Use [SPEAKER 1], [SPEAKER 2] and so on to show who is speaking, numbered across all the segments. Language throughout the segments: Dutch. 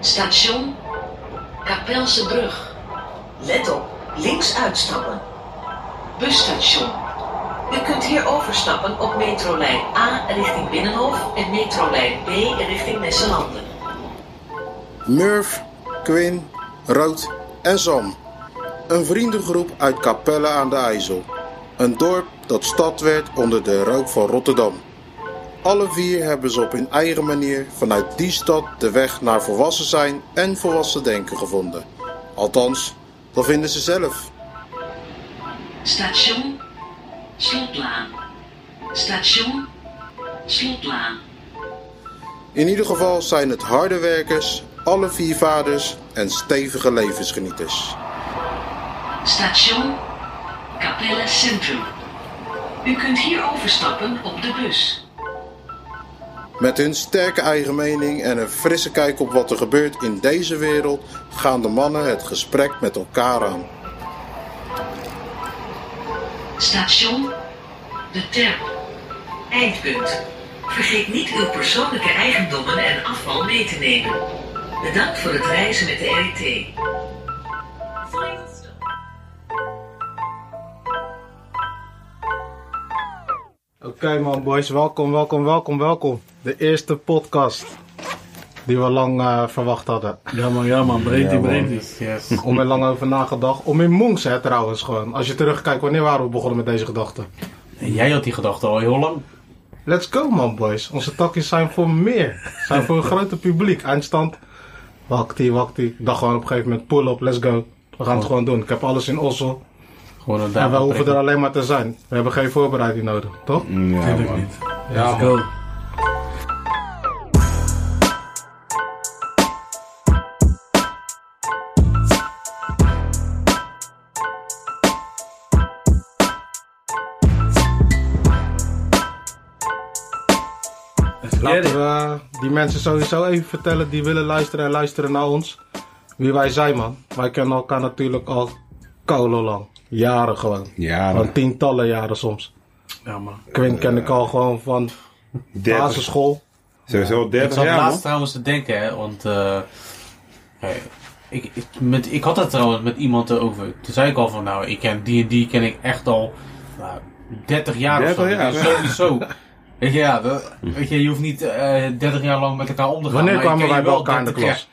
[SPEAKER 1] Station Kapelse Brug.
[SPEAKER 2] Let op, links uitstappen.
[SPEAKER 1] Busstation.
[SPEAKER 2] U kunt hier overstappen op metrolijn A richting Binnenhof en metrolijn B richting Nesselanden.
[SPEAKER 3] Murf, Quinn, Rood en Zam. Een vriendengroep uit Capelle aan de IJssel. Een dorp dat stad werd onder de rook van Rotterdam. Alle vier hebben ze op hun eigen manier vanuit die stad de weg naar volwassen zijn en volwassen denken gevonden. Althans, dat vinden ze zelf.
[SPEAKER 1] Station Slotlaan. Station Slotlaan.
[SPEAKER 3] In ieder geval zijn het harde werkers, alle vier vaders en stevige levensgenieters.
[SPEAKER 1] Station Capelle Centrum.
[SPEAKER 2] U kunt hier overstappen op de bus.
[SPEAKER 3] Met hun sterke eigen mening en een frisse kijk op wat er gebeurt in deze wereld gaan de mannen het gesprek met elkaar aan.
[SPEAKER 1] Station De Terp.
[SPEAKER 2] Eindpunt. Vergeet niet uw persoonlijke eigendommen en afval mee te nemen. Bedankt voor het reizen met de E RIT. Final stop.
[SPEAKER 4] Oké man, boys, welkom, welkom, welkom, welkom. De eerste podcast die we lang eh, verwacht hadden.
[SPEAKER 5] Ja man, ja man, breed die, breed die. Yes.
[SPEAKER 4] Om er lang over nagedacht. Om in Monks, hè, trouwens, gewoon. Als je terugkijkt, wanneer waren we begonnen met deze gedachten?
[SPEAKER 5] En jij had die gedachte al heel lang.
[SPEAKER 4] Let's go, man, boys. Onze takjes zijn voor meer. Zijn voor een groter publiek. Eindstand. Wakti, wakti. Ik dacht gewoon op een gegeven moment, pull up, let's go. We gaan het gewoon doen. Ik heb alles in Oslo.
[SPEAKER 5] Gewoon een
[SPEAKER 4] En
[SPEAKER 5] dag.
[SPEAKER 4] wij hoeven er alleen maar te zijn. We hebben geen voorbereiding nodig, toch?
[SPEAKER 6] Ja,
[SPEAKER 5] Tuurlijk
[SPEAKER 6] man.
[SPEAKER 5] niet.
[SPEAKER 4] Ja,
[SPEAKER 5] Let's go.
[SPEAKER 4] Laten we Nou, eh, die mensen sowieso even vertellen die willen luisteren en luisteren naar ons. Wie wij zijn, man. Wij kennen elkaar natuurlijk al kolenlang. Jaren gewoon.
[SPEAKER 6] Jaren.
[SPEAKER 4] Van tientallen jaren soms.
[SPEAKER 5] Ja man.
[SPEAKER 4] Quint ken ik al gewoon van
[SPEAKER 6] Dertig-
[SPEAKER 4] basisschool.
[SPEAKER 6] Sowieso
[SPEAKER 5] Ik
[SPEAKER 6] 30
[SPEAKER 5] zat
[SPEAKER 6] jaar,
[SPEAKER 5] laatst
[SPEAKER 6] man.
[SPEAKER 5] trouwens te denken, hè, want eh, eh, ik, ik, met, ik had het trouwens met iemand erover. Toen zei ik al van, nou, ik ken die en die ken ik echt al nou, 30 jaar of zo.
[SPEAKER 6] 30 jaar,
[SPEAKER 5] Dus
[SPEAKER 6] ja.
[SPEAKER 5] sowieso. Weet je, ja, dat- weet je, je hoeft niet eh 30 jaar lang met elkaar om te gaan.
[SPEAKER 4] Wanneer
[SPEAKER 5] maar ik
[SPEAKER 4] kwamen
[SPEAKER 5] ken
[SPEAKER 4] wij
[SPEAKER 5] je
[SPEAKER 4] bij
[SPEAKER 5] wel
[SPEAKER 4] elkaar in de
[SPEAKER 5] 30 jaar.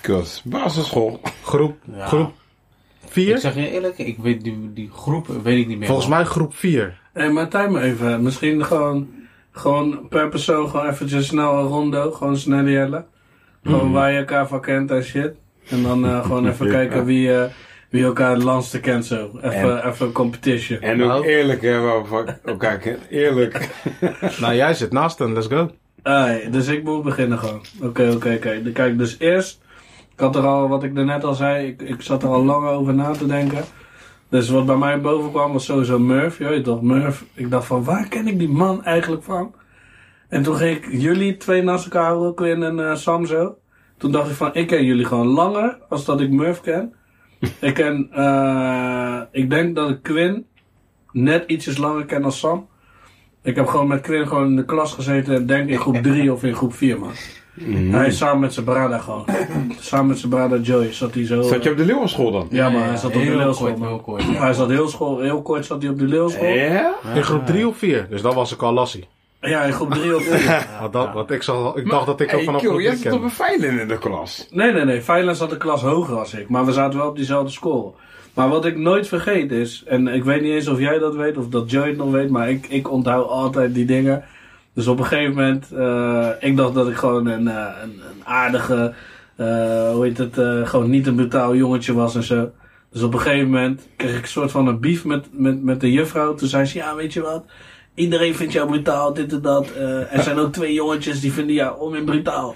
[SPEAKER 4] klas?
[SPEAKER 6] Kus, basisschool.
[SPEAKER 4] Groep,
[SPEAKER 5] Ja.
[SPEAKER 4] groep
[SPEAKER 5] Ik
[SPEAKER 4] 4?
[SPEAKER 5] zeg je eerlijk, ik weet die, die groep weet ik niet meer.
[SPEAKER 4] Volgens
[SPEAKER 5] man.
[SPEAKER 4] mij groep 4.
[SPEAKER 7] Hé, maar time even. Misschien gewoon, gewoon per persoon gewoon eventjes snel een rondo. Gewoon snelle jellen. Gewoon waar je elkaar van kent en shit. En dan eh, gewoon even
[SPEAKER 6] Ja.
[SPEAKER 7] kijken wie, eh, wie elkaar het langste kent zo. Even, even een competition.
[SPEAKER 6] En ook eerlijk, hè, waar we van elkaar kennen. Eerlijk.
[SPEAKER 4] Nou, jij zit naast hem, let's go.
[SPEAKER 7] Ai, dus ik moet beginnen gewoon. Oké, oké, oké. Dan Kijk, dus eerst... Ik had er al, wat ik daarnet al zei, ik, ik zat er al lang over na te denken. Dus wat bij mij boven kwam was sowieso Murph. Je weet toch, Murph. Ik dacht van, waar ken ik die man eigenlijk van? En toen ging ik jullie twee naast elkaar houden, Quinn en eh, Sam zo. Toen dacht ik van, ik ken jullie gewoon langer als dat ik Murph ken. ik ken, eh, ik denk dat ik Quinn net ietsjes langer ken dan Sam. Ik heb gewoon met Quinn gewoon in de klas gezeten en denk in groep 3 of in groep 4 man.
[SPEAKER 6] Mm-hmm.
[SPEAKER 7] Hij is samen met zijn brada gewoon. samen met zijn brada Joy zat hij zo.
[SPEAKER 6] Zat je op de Leeuwenschool dan?
[SPEAKER 7] Ja, maar hij zat op de
[SPEAKER 5] heel
[SPEAKER 7] leeuwschool.
[SPEAKER 5] kort,
[SPEAKER 7] man.
[SPEAKER 5] heel kort.
[SPEAKER 7] Hij zat heel, school, heel kort zat hij op de leeuwschool.
[SPEAKER 6] Ja?
[SPEAKER 4] In groep 3 of 4. Dus dat was ik al lassie.
[SPEAKER 7] Ja, in groep 3 of 4.
[SPEAKER 4] Want, dat, want ik, zag, ik dacht dat ik ook
[SPEAKER 6] Hey,
[SPEAKER 4] vanaf
[SPEAKER 6] kill,
[SPEAKER 4] groep
[SPEAKER 6] jij
[SPEAKER 4] 3
[SPEAKER 6] zat op
[SPEAKER 4] kende.
[SPEAKER 6] een veiling in de klas.
[SPEAKER 7] Nee, nee, nee. Feyenoord zat een klas hoger als ik. Maar we zaten wel op diezelfde school. Maar wat ik nooit vergeet is... En ik weet niet eens of jij dat weet of dat Joy het nog weet. Maar ik, ik onthoud altijd die dingen. Dus op een gegeven moment... eh, ik dacht dat ik gewoon een, eh, een, een aardige... eh, hoe heet het? eh, gewoon niet een brutaal jongetje was en zo. Dus op een gegeven moment kreeg ik een soort van een beef met, met, met de juffrouw. Toen zei ze, ja, weet je wat? Iedereen vindt jou brutaal, dit en dat. Eh, er zijn ook twee jongetjes die vinden jou om in brutaal.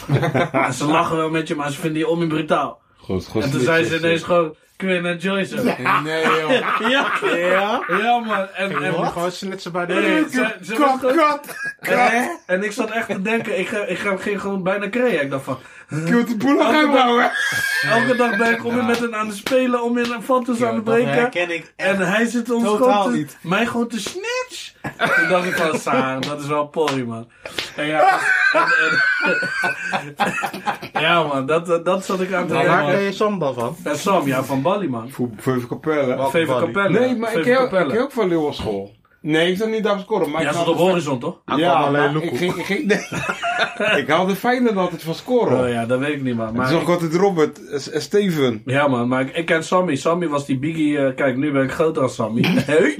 [SPEAKER 7] En ze lachen wel met je, maar ze vinden je om in brutaal.
[SPEAKER 6] Goed, goed.
[SPEAKER 7] En toen zei ze ineens gewoon, Quinn en Joyce. Ja,
[SPEAKER 6] Nee, joh.
[SPEAKER 7] ja,
[SPEAKER 4] Ja?
[SPEAKER 7] man. En,
[SPEAKER 4] En
[SPEAKER 7] en,
[SPEAKER 4] gewoon snitsen bij de
[SPEAKER 7] Nee,
[SPEAKER 4] nee.
[SPEAKER 7] ze- ze was gewoon- en, en ik zat echt te denken, ik, ga- ik ga- ging gewoon bijna creëren. Ik dacht van,
[SPEAKER 6] Ik wil de boel nou, nog uitbouwen.
[SPEAKER 7] elke dag ben ik om in met een aan het spelen, om in een foto's aan
[SPEAKER 5] Ja,
[SPEAKER 7] het
[SPEAKER 5] dat
[SPEAKER 7] breken.
[SPEAKER 5] herken ik
[SPEAKER 7] En hij zit ons
[SPEAKER 5] Totaal
[SPEAKER 7] gewoon te,
[SPEAKER 5] niet.
[SPEAKER 7] mij gewoon te snitch. Toen dacht ik van, Saar, dat is wel porrie, man. En ja, en, en- ja man, dat, eh, dat zat ik aan te
[SPEAKER 4] Maar Waar ken
[SPEAKER 7] denken.
[SPEAKER 4] je Samba van?
[SPEAKER 7] En Sam, ja, van Bali man.
[SPEAKER 6] Voor Capelle.
[SPEAKER 7] VV
[SPEAKER 4] Bali.
[SPEAKER 7] Capelle.
[SPEAKER 6] Nee, maar ik
[SPEAKER 7] VV
[SPEAKER 6] heb ik
[SPEAKER 7] Capelle.
[SPEAKER 6] heb ook van Leeuwen school. Nee, ik zat niet daar op scoren. Maar
[SPEAKER 7] Jij
[SPEAKER 6] ik
[SPEAKER 7] zat
[SPEAKER 6] had-
[SPEAKER 7] op horizon toch?
[SPEAKER 4] Hij
[SPEAKER 6] ja,
[SPEAKER 4] kwam alleen
[SPEAKER 6] maar
[SPEAKER 4] Luko.
[SPEAKER 6] ik ging, ik ging, nee. ik haalde Feyenoord altijd van scoren.
[SPEAKER 7] Oh ja, dat weet ik niet man.
[SPEAKER 6] Het
[SPEAKER 7] Maar
[SPEAKER 6] is ook altijd Robert, eh, S- eh, Steven.
[SPEAKER 7] Ja man, maar ik, ik ken Sammy. Sammy was die biggie... eh, kijk, nu ben ik groter dan Sammy. Hey.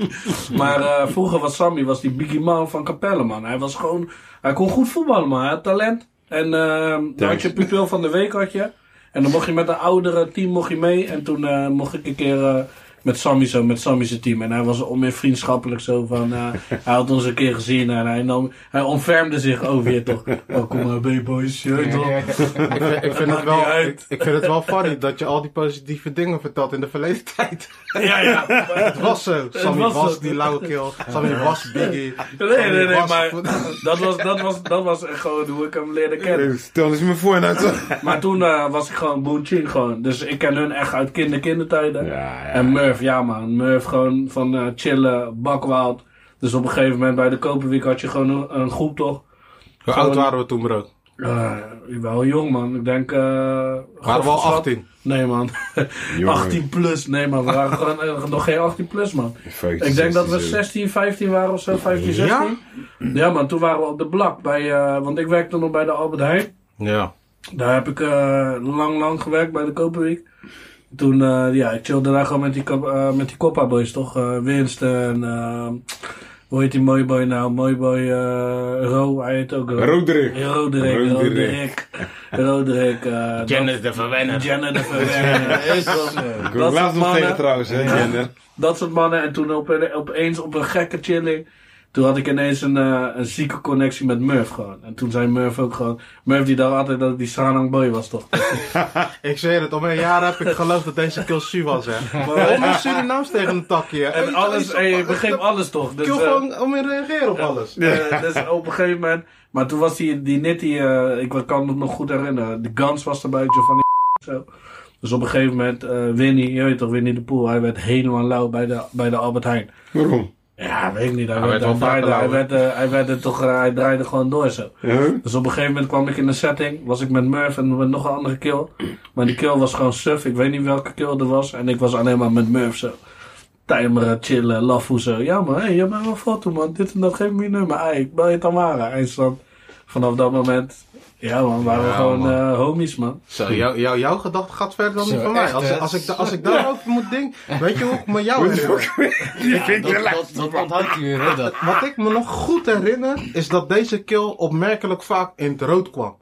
[SPEAKER 7] maar eh, vroeger was Sammy was die biggie man van Capelle man. Hij was gewoon... Hij kon goed voetballen man. Hij had talent. En ehm dan had je pupil van de week had je. En dan mocht je met een oudere team mocht je mee. En toen eh, mocht ik een keer... eh, met Sammy zo, met Sammy zijn team. En hij was onmeer vriendschappelijk zo van... eh, hij had ons een keer gezien en hij, nam, hij ontfermde zich over je toch. Oh, kom maar mee boys. Je weet toch.
[SPEAKER 4] Ik vind- ik vind het
[SPEAKER 7] Maakt niet
[SPEAKER 4] wel-
[SPEAKER 7] uit.
[SPEAKER 4] Ik ik vind het wel funny dat je al die positieve dingen vertelt in de verleden tijd.
[SPEAKER 7] Ja, ja.
[SPEAKER 4] Het was zo. Sammy
[SPEAKER 7] was
[SPEAKER 4] was,
[SPEAKER 7] zo.
[SPEAKER 4] die lauwe keel. Sammy was Biggie.
[SPEAKER 7] Nee, nee, nee,
[SPEAKER 4] was-
[SPEAKER 7] maar dat was, dat, was, dat was echt gewoon hoe ik hem leerde kennen.
[SPEAKER 6] Stel eens mijn voornaam.
[SPEAKER 7] Maar toen eh, was ik gewoon Boon Chin gewoon. Dus ik ken hun echt uit kinder kindertijden.
[SPEAKER 6] Ja, ja.
[SPEAKER 7] En Murph, ja man. Murph gewoon van eh, chillen, bakwild. Dus op een gegeven moment bij de Koperwiek had je gewoon een, een groep toch.
[SPEAKER 4] Hoe oud waren we toen, bro?
[SPEAKER 7] Eh, wel jong man. Ik denk... eh
[SPEAKER 4] Waren we al
[SPEAKER 7] schat-
[SPEAKER 4] 18?
[SPEAKER 7] Nee man.
[SPEAKER 6] Jongen.
[SPEAKER 7] 18 plus. Nee man, we waren gewoon eh, nog geen 18 plus man. Ik denk dat we 16, 15 waren of zo, 15, 16. Ja, maar toen waren we op de blak. Bij, eh, want ik werkte nog bij de Albert Heijn.
[SPEAKER 4] Ja.
[SPEAKER 7] Daar heb ik eh, lang, lang gewerkt bij de Koperweek. Toen, eh, ja, ik chillde daar gewoon met die, kap- eh, met die Coppa Boys, toch? Eh Winst en, eh, hoe heet die mooie boy nou? Mooie boy eh, Ro, hij heet ook Ro.
[SPEAKER 6] Roderick.
[SPEAKER 7] Roderick, Roderick. Roderick. eh,
[SPEAKER 4] Janet de Verwennen.
[SPEAKER 7] dat- Janet de Verwerner. Is wel zo.
[SPEAKER 6] Ik
[SPEAKER 7] Dat
[SPEAKER 6] was laatst
[SPEAKER 7] soort
[SPEAKER 6] nog tegen
[SPEAKER 7] mannen.
[SPEAKER 6] trouwens, hè, Jenner.
[SPEAKER 7] Dat soort mannen. En toen op, opeens op een gekke chilling. Toen had ik ineens een, eh, een zieke connectie met Murph gewoon. En toen zei Murph ook gewoon... Murph die dacht altijd dat ik die Sanang Boy was toch?
[SPEAKER 4] Ik zweer het, om een jaar heb ik geloofd dat deze kill Su was, hè. Om een Surinaams tegen een takje.
[SPEAKER 7] En alles, en je begreep
[SPEAKER 4] begint
[SPEAKER 7] alles toch? Dus,
[SPEAKER 4] Kill
[SPEAKER 7] eh,
[SPEAKER 4] gewoon om in reageren op alles.
[SPEAKER 7] eh, dus op een gegeven moment... Maar toen was die, die Nitty... eh, ik kan me nog goed herinneren. De Guns was erbij, Giovanni zo. Dus op een gegeven moment... eh, Winnie, je weet toch, Winnie de Poel. Hij werd helemaal lauw bij de, bij de Albert Heijn.
[SPEAKER 6] Waarom?
[SPEAKER 7] Ja, weet ik niet. Hij,
[SPEAKER 5] Hij
[SPEAKER 7] werd,
[SPEAKER 5] werd wel
[SPEAKER 7] hij draaide,
[SPEAKER 5] vaker
[SPEAKER 7] hij,
[SPEAKER 5] lauw, hè?
[SPEAKER 7] werd, eh, hij, werd er toch, eh, hij draaide gewoon door zo.
[SPEAKER 6] Huh?
[SPEAKER 7] Dus op een gegeven moment kwam ik in een setting, was ik met Murph en met nog een andere kill. Maar die kill was gewoon suf, ik weet niet welke kill er was. En ik was alleen maar met Murph zo. Timeren, chillen, laffen zo. Ja man, hey, je bent wel foto man, dit en dat, geef me je nummer. Ei, ik bel je Tamara. En dan vanaf dat moment, ja man, waren we
[SPEAKER 4] Ja,
[SPEAKER 7] gewoon
[SPEAKER 4] man.
[SPEAKER 7] eh, homies man.
[SPEAKER 4] Zo, jou, jou, jouw gedachte gaat verder dan die
[SPEAKER 5] Zo,
[SPEAKER 4] van mij.
[SPEAKER 5] echt,
[SPEAKER 4] Als,
[SPEAKER 5] hè?
[SPEAKER 4] als, ik, da- als ik daarover moet denken, weet je hoe ik me jou herinner?
[SPEAKER 6] Die vind ik
[SPEAKER 5] Dat,
[SPEAKER 6] de
[SPEAKER 5] dat,
[SPEAKER 6] laatste.
[SPEAKER 5] dat onthoudt hij weer, hè? Dat.
[SPEAKER 4] Wat ik me nog goed herinner, is dat deze kill opmerkelijk vaak in het rood kwam.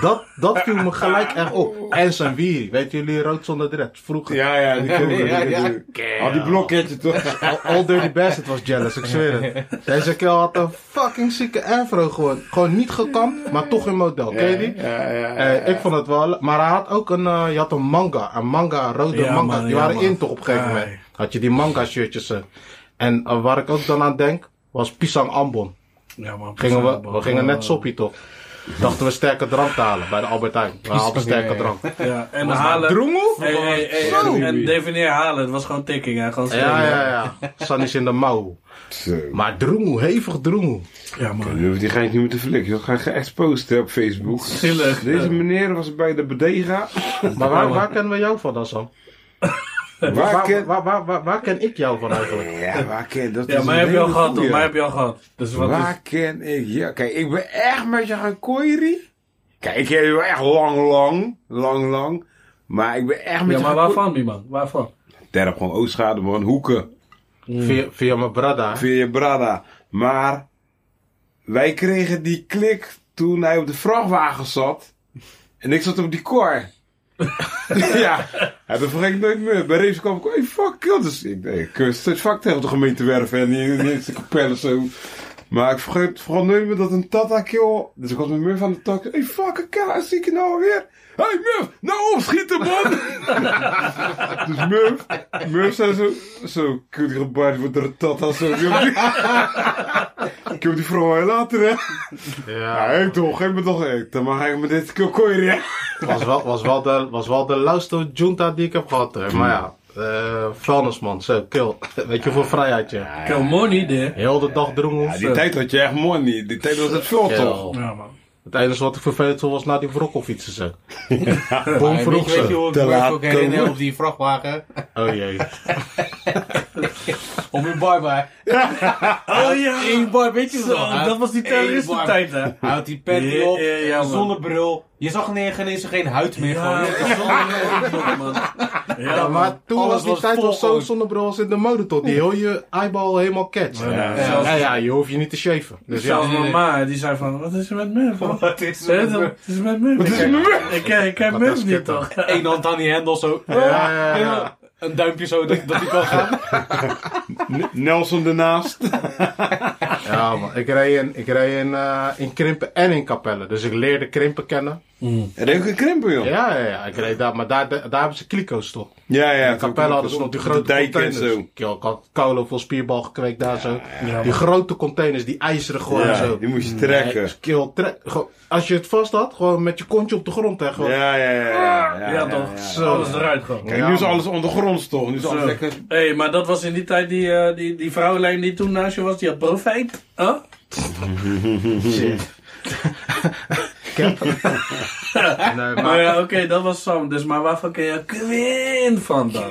[SPEAKER 4] Dat, dat viel me gelijk echt op. En zijn wie? Weten jullie rood zonder dread? Vroeger.
[SPEAKER 6] Ja, ja, die ken ik,
[SPEAKER 5] Ja,
[SPEAKER 6] die ken
[SPEAKER 5] ja.
[SPEAKER 6] ik. Al die blokketje toch?
[SPEAKER 4] Al, al Dirty Bastard was jealous, ik zweer het. Deze kill had een fucking zieke afro gewoon. Gewoon niet gekamd, maar toch in model. Ken je die?
[SPEAKER 6] Ja, ja, ja.
[SPEAKER 4] Eh, ik vond het wel, maar hij had ook een, eh, je had een manga, een manga, een rode
[SPEAKER 7] Ja,
[SPEAKER 4] manga,
[SPEAKER 7] man,
[SPEAKER 4] die
[SPEAKER 7] ja,
[SPEAKER 4] waren
[SPEAKER 7] man.
[SPEAKER 4] in toch op een gegeven moment.
[SPEAKER 7] Ai.
[SPEAKER 4] Had je die manga shirtjes. eh. En eh, waar ik ook dan aan denk, was Pisang Ambon.
[SPEAKER 7] Ja man.
[SPEAKER 4] Gingen we, we gingen net soppie toch. Dachten we sterke drank te halen bij de Albert Heijn. We haalden
[SPEAKER 5] Pisang,
[SPEAKER 4] sterke
[SPEAKER 5] ja,
[SPEAKER 4] drank.
[SPEAKER 7] Ja, en halen.
[SPEAKER 4] Droemel?
[SPEAKER 7] Hey, hey, hey,
[SPEAKER 6] Zo.
[SPEAKER 7] en defineer halen, het was gewoon tikking hè, gewoon
[SPEAKER 4] Ja,
[SPEAKER 7] schreeuwen.
[SPEAKER 4] ja, ja. San is in de mouw.
[SPEAKER 6] Zo.
[SPEAKER 4] Maar droemel, hevig droemel.
[SPEAKER 7] ja man.
[SPEAKER 6] Nu hoeft die geit niet meer te flikken. Dat ga je geëxposed hè, op Facebook.
[SPEAKER 7] Zielig.
[SPEAKER 6] Deze meneer was bij de Bodega.
[SPEAKER 4] Maar waar, waar kennen we jou van dan, Sam?
[SPEAKER 6] Waar
[SPEAKER 7] Eh,
[SPEAKER 4] Waar,
[SPEAKER 6] ken...
[SPEAKER 4] waar, waar, waar, waar ken ik jou van eigenlijk?
[SPEAKER 6] Ja, waar ken... Dat
[SPEAKER 7] Ja,
[SPEAKER 6] is
[SPEAKER 7] mij
[SPEAKER 6] een
[SPEAKER 7] heb je al
[SPEAKER 6] hele
[SPEAKER 7] gehad,
[SPEAKER 6] goeie.
[SPEAKER 7] toch? Mij heb je al gehad. Dus wat is...
[SPEAKER 6] Waar ken ik? Ja, kijk, ik ben echt met je gaan koeierie. Kijk, ik ken je wel echt lang, lang. Lang, lang. Maar ik ben echt met
[SPEAKER 7] Ja,
[SPEAKER 6] je
[SPEAKER 7] maar
[SPEAKER 6] gaan
[SPEAKER 7] waarvan, die man? Waarvan?
[SPEAKER 6] koeierie. Daar heb gewoon Oostschade, man. Hoeken.
[SPEAKER 4] Via, via mijn brada.
[SPEAKER 6] Via je brada. Maar wij kregen die klik toen hij op de vrachtwagen zat. En ik zat op die kor. ja, en dat vergeet ik nooit meer. Bij Reeves kwam ik, hey, fuck, kill. Dus ik denk, ik steeds vak tegen de gemeente werven en die, die de kapellen zo. Maar ik vergeet vooral nooit meer dat een Tata kill. Dus ik was met Murph aan de tak. Hey, fuck, kill, zie ik je nou alweer? Hey, Murph, nou opschieten, man! dus Murph, Murph zei zo, zo, kut, gebaard wordt door een Tata zo. Ik heb die- Ik heb die vrouw wel later, hè? Ja, ik toch, geef me toch, ik, dan mag ik met dit kill kooien, hè?
[SPEAKER 4] was wel, was wel de, was wel de lauwste junta die ik heb gehad. hè. Maar ja, eh, vuilnisman, zo, kill. Weet je, voor vrijheid, ja.
[SPEAKER 7] Kill money, dit.
[SPEAKER 4] Heel de dag drongen.
[SPEAKER 6] Ja, die tijd had je echt mooi niet. Die tijd was het veel toch?
[SPEAKER 7] Ja, man.
[SPEAKER 4] Het enige wat ik vervelend vond was naar die wrokkelfietsen, zo.
[SPEAKER 5] Maar
[SPEAKER 4] Boom
[SPEAKER 5] weet,
[SPEAKER 4] vroeg
[SPEAKER 5] je, weet je
[SPEAKER 4] zo.
[SPEAKER 5] hoe ik
[SPEAKER 6] Te
[SPEAKER 5] me
[SPEAKER 6] laat
[SPEAKER 5] ook herinner
[SPEAKER 6] komen.
[SPEAKER 5] op die vrachtwagen?
[SPEAKER 4] Oh jee.
[SPEAKER 5] Op een bye-bye.
[SPEAKER 7] Oh ja!
[SPEAKER 5] Eén bar, weet je wel.
[SPEAKER 7] Zo, dat was die terroristentijd, hè?
[SPEAKER 5] Houdt die pet
[SPEAKER 7] Ja,
[SPEAKER 5] op,
[SPEAKER 7] ja, ja, man.
[SPEAKER 5] zonnebril. Je zag ineens geen, eens geen huid meer.
[SPEAKER 7] Ja,
[SPEAKER 5] gewoon.
[SPEAKER 7] man.
[SPEAKER 4] Ja,
[SPEAKER 7] Ja, man.
[SPEAKER 4] maar toen
[SPEAKER 5] alles
[SPEAKER 4] was die
[SPEAKER 5] was
[SPEAKER 4] tijd
[SPEAKER 5] vol
[SPEAKER 4] was zo
[SPEAKER 5] gewoon.
[SPEAKER 4] zonnebril als in de mode tot. Die heel je eyeball helemaal catch. Ja, ja, ja.
[SPEAKER 7] zelfs-
[SPEAKER 4] je hoeft je niet te shaven. Dus ja.
[SPEAKER 7] Zelfs mijn ma, die zei van, wat is er met Murph? man?
[SPEAKER 5] Wat is
[SPEAKER 7] Ze
[SPEAKER 5] er
[SPEAKER 7] weet
[SPEAKER 5] met
[SPEAKER 7] toch,
[SPEAKER 5] me?
[SPEAKER 7] Wat is er met Murph? Ik ken- Ik ken, ik ken Murph
[SPEAKER 4] is
[SPEAKER 7] niet,
[SPEAKER 4] kut, man.
[SPEAKER 7] toch?
[SPEAKER 5] Eén hand aan die hendel zo.
[SPEAKER 4] Ja, ja, ja.
[SPEAKER 5] Een duimpje zo dat, dat die kan gaan.
[SPEAKER 6] N- Nelson ernaast.
[SPEAKER 4] Ja, man. Ik reed in, ik reed in, eh, in Krimpen en in Capelle. Dus ik leerde Krimpen kennen.
[SPEAKER 6] Er heeft een krimpen, joh.
[SPEAKER 4] Ja, ja, ja. Ik reed daar, maar daar, daar hebben ze kliko's toch?
[SPEAKER 6] Ja, ja.
[SPEAKER 4] Capelle hadden ze nog die
[SPEAKER 6] Op
[SPEAKER 4] grote
[SPEAKER 6] de dijk en
[SPEAKER 4] containers.
[SPEAKER 6] zo.
[SPEAKER 4] Ik had koude vol spierbal gekweekt daar zo. Die grote containers, die ijzeren gewoon
[SPEAKER 6] Ja,
[SPEAKER 4] zo.
[SPEAKER 6] die moest je trekken.
[SPEAKER 4] Nee, kill, trek- gewoon- als je het vast had, gewoon met je kontje op de grond. Hè, gewoon.
[SPEAKER 6] Ja, ja, ja. ja, ja,
[SPEAKER 7] Ja,
[SPEAKER 6] ja.
[SPEAKER 7] toch?
[SPEAKER 4] Zo.
[SPEAKER 7] Alles eruit gewoon.
[SPEAKER 6] Kijk, nu is alles ondergronds, toch? Nu is alles
[SPEAKER 7] Zo.
[SPEAKER 6] lekker...
[SPEAKER 7] Hé, maar dat was in die tijd die, eh, die, die vrouwenlijn die toen naast je was, die had profijt. Huh?
[SPEAKER 4] Nee,
[SPEAKER 7] Maar
[SPEAKER 4] maar,
[SPEAKER 7] ja, oké, dat was Sam. Dus maar waarvan ken je Quinn van dan?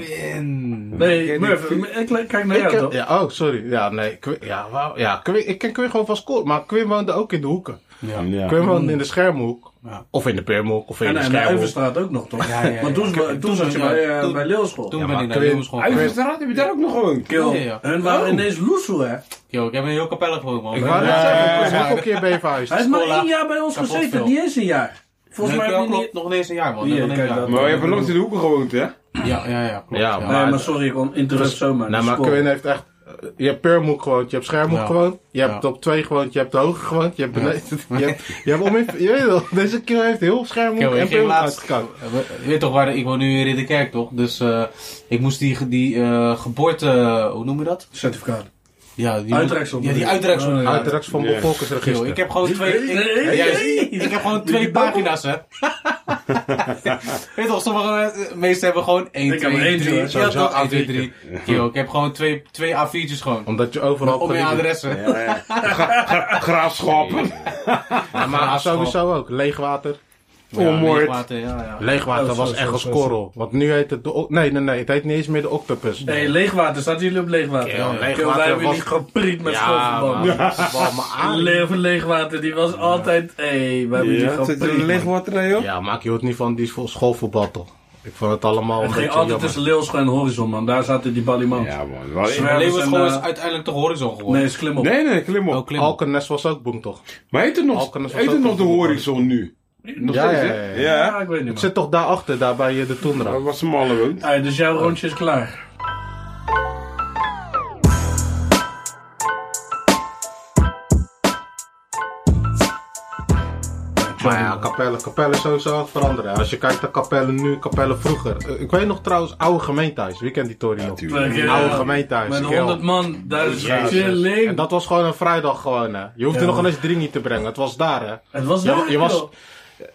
[SPEAKER 7] Nee, Murph, ik le- kijk naar
[SPEAKER 4] ik
[SPEAKER 7] jou
[SPEAKER 4] ken-
[SPEAKER 7] toch?
[SPEAKER 4] ja, oh, sorry. Ja, nee. Quin- ja, wauw, ja, Quin- ik ken Quinn gewoon van school. Maar Quinn woonde ook in de hoeken.
[SPEAKER 5] Ja.
[SPEAKER 6] Ja.
[SPEAKER 4] Quinn woonde in de Schermhoek.
[SPEAKER 5] Ja.
[SPEAKER 4] Of in de Permhoek. Of in
[SPEAKER 7] En,
[SPEAKER 4] de
[SPEAKER 7] en de
[SPEAKER 4] Schermhoek.
[SPEAKER 7] Uiverstraat ook nog toch?
[SPEAKER 5] Ja, ja, ja.
[SPEAKER 7] Want toen,
[SPEAKER 5] Ik-
[SPEAKER 7] toen,
[SPEAKER 5] toen
[SPEAKER 7] zat je
[SPEAKER 5] ja,
[SPEAKER 7] bij, eh,
[SPEAKER 5] toen-
[SPEAKER 7] bij Leeuwschool.
[SPEAKER 5] Toen
[SPEAKER 4] Ja,
[SPEAKER 5] ben
[SPEAKER 4] maar
[SPEAKER 5] ik naar de
[SPEAKER 4] Quinn-
[SPEAKER 5] jongensschool
[SPEAKER 6] Hij
[SPEAKER 5] gegaan.
[SPEAKER 6] was eruit, heb je daar ook nog gewoond?
[SPEAKER 7] Kill.
[SPEAKER 5] Ja, ja.
[SPEAKER 7] Hun waren ineens loesoe, hè?
[SPEAKER 5] Yo, ik heb een heel kapelle gewoond, man.
[SPEAKER 4] Ik wou net
[SPEAKER 5] Ja.
[SPEAKER 4] zeggen, ik was ook een keer bij je verhuisd.
[SPEAKER 7] Hij is maar
[SPEAKER 5] Scola.
[SPEAKER 7] één jaar bij ons
[SPEAKER 5] Kapot
[SPEAKER 7] gezeten,
[SPEAKER 5] veel.
[SPEAKER 7] niet eens een jaar. Volgens
[SPEAKER 5] Nee,
[SPEAKER 7] mij
[SPEAKER 5] ja,
[SPEAKER 7] heb je
[SPEAKER 5] klopt.
[SPEAKER 7] niet...
[SPEAKER 5] Nog ineens een jaar, man.
[SPEAKER 7] Ja,
[SPEAKER 5] Nog ineens een
[SPEAKER 7] kijk
[SPEAKER 5] jaar.
[SPEAKER 6] Maar je hebt langs in de hoeken gewoond, hè?
[SPEAKER 5] Ja, ja, ja. klopt.
[SPEAKER 4] Ja,
[SPEAKER 5] Ja.
[SPEAKER 4] maar-
[SPEAKER 7] Nee, maar sorry, ik on- interrupt zomaar.
[SPEAKER 4] Nou,
[SPEAKER 7] Dus
[SPEAKER 4] maar
[SPEAKER 7] scola.
[SPEAKER 4] Quinn heeft echt... eh, Je hebt Permhoek gewoond, je hebt Schermhoek
[SPEAKER 5] Ja.
[SPEAKER 4] gewoond, je hebt
[SPEAKER 5] Ja.
[SPEAKER 4] op 2 gewoond, je hebt de Hoge gewoond, je hebt beneden... Je hebt, je hebt om in, je weet wel, deze keer heeft heel Schermhoek
[SPEAKER 5] Yo, ik
[SPEAKER 4] en
[SPEAKER 5] ging
[SPEAKER 4] Permhoek
[SPEAKER 5] laatst-
[SPEAKER 4] uitgekakt.
[SPEAKER 5] Eh, we- Je weet toch waar ik woon nu in Ridderkerk, toch? Dus eh, ik moest die, ge- die eh, geboorte... Hoe noem je dat?
[SPEAKER 7] Certificaat.
[SPEAKER 5] Ja, die
[SPEAKER 7] Uitreiksel.
[SPEAKER 5] Ja, die uitreiksel.
[SPEAKER 7] Oh, Ja.
[SPEAKER 4] Uiteraard van
[SPEAKER 6] Ja.
[SPEAKER 5] Yo,
[SPEAKER 4] bevolkingsregister.
[SPEAKER 5] ik heb gewoon twee... Ik,
[SPEAKER 7] Nee, nee,
[SPEAKER 5] juist,
[SPEAKER 7] nee.
[SPEAKER 5] ik heb gewoon twee pagina's, hè. Weet je toch, sommige eh, meesten hebben gewoon 1,
[SPEAKER 7] Ik heb
[SPEAKER 5] 2,
[SPEAKER 7] er één,
[SPEAKER 5] 3.
[SPEAKER 7] hoor.
[SPEAKER 5] Ja,
[SPEAKER 4] Sowieso
[SPEAKER 5] toch, 1, 2,
[SPEAKER 4] A4'tje.
[SPEAKER 5] 3. Yo, ik heb gewoon twee, twee A4'tjes gewoon.
[SPEAKER 4] Omdat je overal...
[SPEAKER 5] Op mijn
[SPEAKER 4] geliefd-
[SPEAKER 5] adressen.
[SPEAKER 6] Ja, ja. Gra- gra- Graafschappen.
[SPEAKER 4] Ja, maar sowieso ook. Leegwater.
[SPEAKER 5] Ja,
[SPEAKER 6] Onmoord.
[SPEAKER 5] leegwater, ja, ja.
[SPEAKER 4] Leegwater
[SPEAKER 7] Oh,
[SPEAKER 4] was
[SPEAKER 7] zo,
[SPEAKER 4] echt
[SPEAKER 7] zo,
[SPEAKER 4] als
[SPEAKER 7] zo,
[SPEAKER 4] korrel. Want nu heet het de... o- Nee, nee, nee. Het heet niet eens meer de octopus.
[SPEAKER 7] Hé, leegwater. Zaten jullie op leegwater?
[SPEAKER 4] Ja,
[SPEAKER 7] Kill,
[SPEAKER 4] leegwater
[SPEAKER 7] wij hebben
[SPEAKER 4] was-
[SPEAKER 7] jullie gepriet met
[SPEAKER 4] ja, man.
[SPEAKER 7] schoolverband.
[SPEAKER 4] Ja,
[SPEAKER 7] Ah,
[SPEAKER 4] maar...
[SPEAKER 7] Leeuw van Leegwater, die was altijd... Hé, wij hebben die
[SPEAKER 6] Ja,
[SPEAKER 7] gewoon
[SPEAKER 6] zit er een
[SPEAKER 7] prima.
[SPEAKER 6] lichtwater aan, joh?
[SPEAKER 4] Ja, maar ik hield niet van die vo- schoolvoetbal, toch? Ik vond het allemaal een
[SPEAKER 7] Het ging
[SPEAKER 4] beetje
[SPEAKER 7] altijd
[SPEAKER 4] jammer.
[SPEAKER 7] tussen Leeuwschool en Horizon, man. Daar zaten die ballimans.
[SPEAKER 6] Ja, man. Wel-
[SPEAKER 7] Zwerf-
[SPEAKER 5] Maar
[SPEAKER 7] Ergens
[SPEAKER 5] Leeuwenschool
[SPEAKER 7] een,
[SPEAKER 5] is
[SPEAKER 7] eh,
[SPEAKER 5] uiteindelijk toch horizon geworden.
[SPEAKER 7] Nee, is klim op.
[SPEAKER 6] Nee, nee, klim
[SPEAKER 5] Oh,
[SPEAKER 6] op.
[SPEAKER 5] klim.
[SPEAKER 4] Alkenes was ook boem, toch?
[SPEAKER 6] Maar heet het nog,
[SPEAKER 4] Alkenes was
[SPEAKER 6] heet het
[SPEAKER 4] ook
[SPEAKER 6] nog de
[SPEAKER 4] een voetballer.
[SPEAKER 6] horizon nu? Nog
[SPEAKER 4] Ja,
[SPEAKER 6] steeds,
[SPEAKER 4] ja,
[SPEAKER 6] hè?
[SPEAKER 4] ja,
[SPEAKER 6] Ja, hè?
[SPEAKER 7] Ja, ik weet
[SPEAKER 4] Het
[SPEAKER 7] niet, man.
[SPEAKER 4] zit toch daarachter, daar bij eh, de Tundra?
[SPEAKER 6] Dat was een malle woont.
[SPEAKER 7] Hey, dus jouw rondje is klaar.
[SPEAKER 4] Maar ja, Capelle, Capelle is sowieso aan het veranderen. Als je kijkt naar Capelle nu, Capelle vroeger. Eh, Ik weet nog trouwens, oude gemeentehuis. Wie kent die Tory nog?
[SPEAKER 6] Tuurlijk.
[SPEAKER 7] Leuk, ja.
[SPEAKER 4] Oude gemeentehuis.
[SPEAKER 7] eh, Met
[SPEAKER 4] kerel.
[SPEAKER 7] 100 man, duizend
[SPEAKER 4] Jezus. En
[SPEAKER 7] chilling.
[SPEAKER 4] dat was gewoon een vrijdag gewoon, hè. Je hoefde
[SPEAKER 7] Ja.
[SPEAKER 4] nog eens drie niet te brengen. Het was daar, hè.
[SPEAKER 7] Het was
[SPEAKER 4] Je,
[SPEAKER 7] leuk,
[SPEAKER 4] je was...
[SPEAKER 7] joh.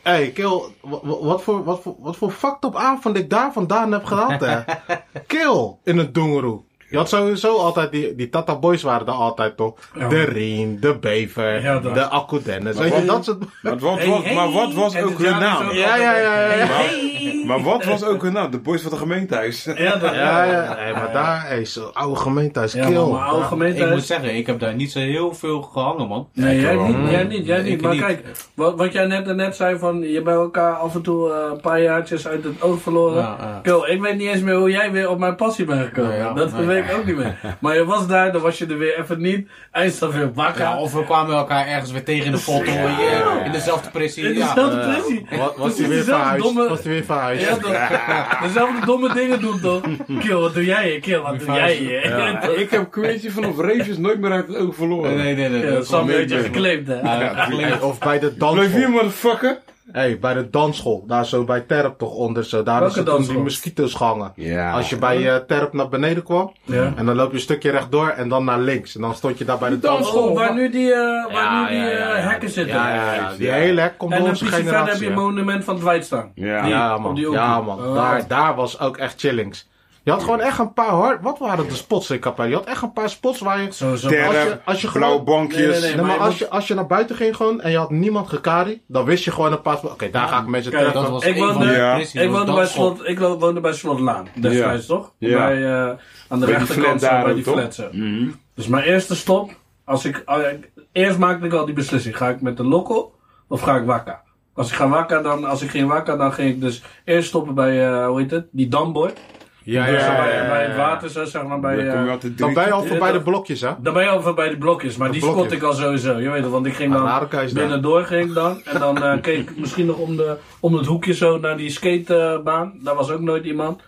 [SPEAKER 4] Hé, hey, Kill, wa- wa- wat voor, wat voor, wat voor fucked op avond ik daar vandaan heb gehad, hè? Kill in het Doengeroe. Je had sowieso altijd die, die Tata Boys waren er altijd toch?
[SPEAKER 7] Ja.
[SPEAKER 4] De Rien, de Bever,
[SPEAKER 7] Ja, dat.
[SPEAKER 4] de Akkoedennis. Weet je,
[SPEAKER 6] wat-
[SPEAKER 4] dat soort.
[SPEAKER 6] Maar wat,
[SPEAKER 7] Hey,
[SPEAKER 6] wat-
[SPEAKER 7] hey.
[SPEAKER 6] maar wat was
[SPEAKER 7] En
[SPEAKER 6] ook
[SPEAKER 7] het
[SPEAKER 6] hun
[SPEAKER 7] jaar is
[SPEAKER 6] naam?
[SPEAKER 7] ook-
[SPEAKER 4] Ja, ja, ja, ja. ja.
[SPEAKER 7] Hey.
[SPEAKER 6] Maar wat was ook hun naam? De boys van de gemeentehuis.
[SPEAKER 7] Ja, dat
[SPEAKER 4] Ja, ja, hey, maar daar, hey, zo'n oude gemeentehuis,
[SPEAKER 7] Ja,
[SPEAKER 4] kill.
[SPEAKER 7] man, maar oude
[SPEAKER 5] Ik moet
[SPEAKER 7] gemeentehuis...
[SPEAKER 5] zeggen, ik heb daar niet zo heel veel gehangen, man.
[SPEAKER 7] Nee, jij niet, jij niet, jij
[SPEAKER 5] Ik
[SPEAKER 7] niet. Maar
[SPEAKER 5] niet.
[SPEAKER 7] kijk, wat, wat jij net net zei van je bij elkaar af en toe eh, een paar jaartjes uit het oog verloren.
[SPEAKER 5] Ja, ja.
[SPEAKER 7] Kill, ik weet niet eens meer hoe jij weer op mijn passie bent gekomen.
[SPEAKER 5] Nee, ja,
[SPEAKER 7] dat
[SPEAKER 5] nee.
[SPEAKER 7] weet ik ook niet meer. Maar je was daar, dan was je er weer even niet. Eindstand weer wakker.
[SPEAKER 5] Ja, of we kwamen elkaar ergens weer tegen in de foto, eh, in dezelfde pressie.
[SPEAKER 7] In
[SPEAKER 5] Ja.
[SPEAKER 7] dezelfde pressie.
[SPEAKER 4] eh, Wa- was hij
[SPEAKER 7] Precies
[SPEAKER 4] weer
[SPEAKER 7] dezelfde
[SPEAKER 4] verhuisd?
[SPEAKER 7] domme-
[SPEAKER 4] Was hij weer verhuisd?
[SPEAKER 7] Ja, toch? Dezelfde domme dingen doen toch? Kill, wat doe jij hier? Kill, wat doe jij hier? eh,
[SPEAKER 6] Ja, ik heb Quintje vanaf Reefjes nooit meer uit het oog verloren.
[SPEAKER 5] Nee, nee, nee. nee,
[SPEAKER 7] Ja,
[SPEAKER 5] dat
[SPEAKER 7] Sam
[SPEAKER 5] komt
[SPEAKER 7] heeft je
[SPEAKER 5] niet.
[SPEAKER 7] geclaimd hè.
[SPEAKER 5] Ja, ja,
[SPEAKER 4] Hey, of bij de
[SPEAKER 6] Blijf hier,
[SPEAKER 4] dansschool.
[SPEAKER 6] motherfucker.
[SPEAKER 4] Hey, bij de dansschool. Daar zo bij Terp toch onder. Zo. Daar
[SPEAKER 7] Welke
[SPEAKER 4] is dan die
[SPEAKER 7] dansschool?
[SPEAKER 4] mosquito's gehangen.
[SPEAKER 6] Ja.
[SPEAKER 4] Als je bij eh Terp naar beneden kwam.
[SPEAKER 7] Ja.
[SPEAKER 4] En dan loop je een stukje rechtdoor en dan naar links. En dan stond je daar bij de dansschool.
[SPEAKER 7] Oh, waar nu die, eh, waar
[SPEAKER 4] Ja,
[SPEAKER 7] nu die
[SPEAKER 4] ja, ja,
[SPEAKER 7] eh,
[SPEAKER 4] ja.
[SPEAKER 7] hekken zitten.
[SPEAKER 4] Ja, ja, ja. Die
[SPEAKER 6] Ja.
[SPEAKER 4] hele hek komt
[SPEAKER 7] En
[SPEAKER 4] door
[SPEAKER 7] een
[SPEAKER 4] onze
[SPEAKER 7] beetje verder heb
[SPEAKER 4] generatie.
[SPEAKER 7] je
[SPEAKER 4] hè.
[SPEAKER 7] monument van Dwight staan.
[SPEAKER 6] Ja.
[SPEAKER 4] Ja
[SPEAKER 7] op
[SPEAKER 4] man,
[SPEAKER 7] die
[SPEAKER 4] ja,
[SPEAKER 7] hoek.
[SPEAKER 4] man.
[SPEAKER 7] Oh.
[SPEAKER 4] Daar, daar was ook echt chillings. Je had gewoon echt een paar hard... Wat waren de spots in Capelle? Je had echt een paar spots waar je...
[SPEAKER 7] Sowieso.
[SPEAKER 4] Ter-
[SPEAKER 6] Terren,
[SPEAKER 4] als je- als je
[SPEAKER 6] blauwe
[SPEAKER 4] gewoon-
[SPEAKER 6] bankjes.
[SPEAKER 7] Nee, nee, nee.
[SPEAKER 4] Nee, maar
[SPEAKER 7] maar je
[SPEAKER 4] als je, als je naar buiten ging gewoon en je had niemand gekari, dan wist je gewoon een paar... Oké, daar ga ik met je
[SPEAKER 7] Kijk,
[SPEAKER 4] trekken.
[SPEAKER 5] Dat was
[SPEAKER 7] Ik
[SPEAKER 5] een van
[SPEAKER 7] woonde-
[SPEAKER 5] de
[SPEAKER 6] Ja.
[SPEAKER 5] kwesties,
[SPEAKER 7] Ik
[SPEAKER 5] was
[SPEAKER 7] woonde,
[SPEAKER 5] dat
[SPEAKER 7] bij
[SPEAKER 5] schot.
[SPEAKER 7] slot, ik lo- woonde bij Slotlaan, destijds toch?
[SPEAKER 6] Ja.
[SPEAKER 7] Bij, eh, aan de
[SPEAKER 6] Bij die flat
[SPEAKER 7] rechterkant zo,
[SPEAKER 6] daar
[SPEAKER 7] bij
[SPEAKER 6] ook,
[SPEAKER 7] die
[SPEAKER 6] toch?
[SPEAKER 7] flats. zo.
[SPEAKER 6] Mhm.
[SPEAKER 7] Dus mijn eerste stop, als ik, als ik- eerst maakte ik al die beslissing. Ga ik met de lokkel of ga ik wakka? Als ik, ga wakka, dan, als ik ging wakka, dan ging ik dus eerst stoppen bij, eh, hoe heet het, die damboy.
[SPEAKER 4] Ja,
[SPEAKER 7] Dus
[SPEAKER 4] ja,
[SPEAKER 7] bij,
[SPEAKER 4] ja.
[SPEAKER 7] bij het water, zo, zeg maar. Bij,
[SPEAKER 6] Dan kom je
[SPEAKER 7] eh,
[SPEAKER 6] altijd
[SPEAKER 4] Dan
[SPEAKER 6] drie
[SPEAKER 4] ben je
[SPEAKER 6] keer-
[SPEAKER 4] al voorbij de blokjes, hè?
[SPEAKER 7] dan ben je over bij die blokjes, maar
[SPEAKER 4] De
[SPEAKER 7] die
[SPEAKER 4] blokjes.
[SPEAKER 7] spot ik al sowieso. Je weet het, want ik ging
[SPEAKER 4] Ah,
[SPEAKER 7] dan
[SPEAKER 4] rare keus daar.
[SPEAKER 7] binnendoor ging ik dan. En dan eh, keek ik misschien nog om, de, om het hoekje zo naar die skatebaan. Daar was ook nooit iemand.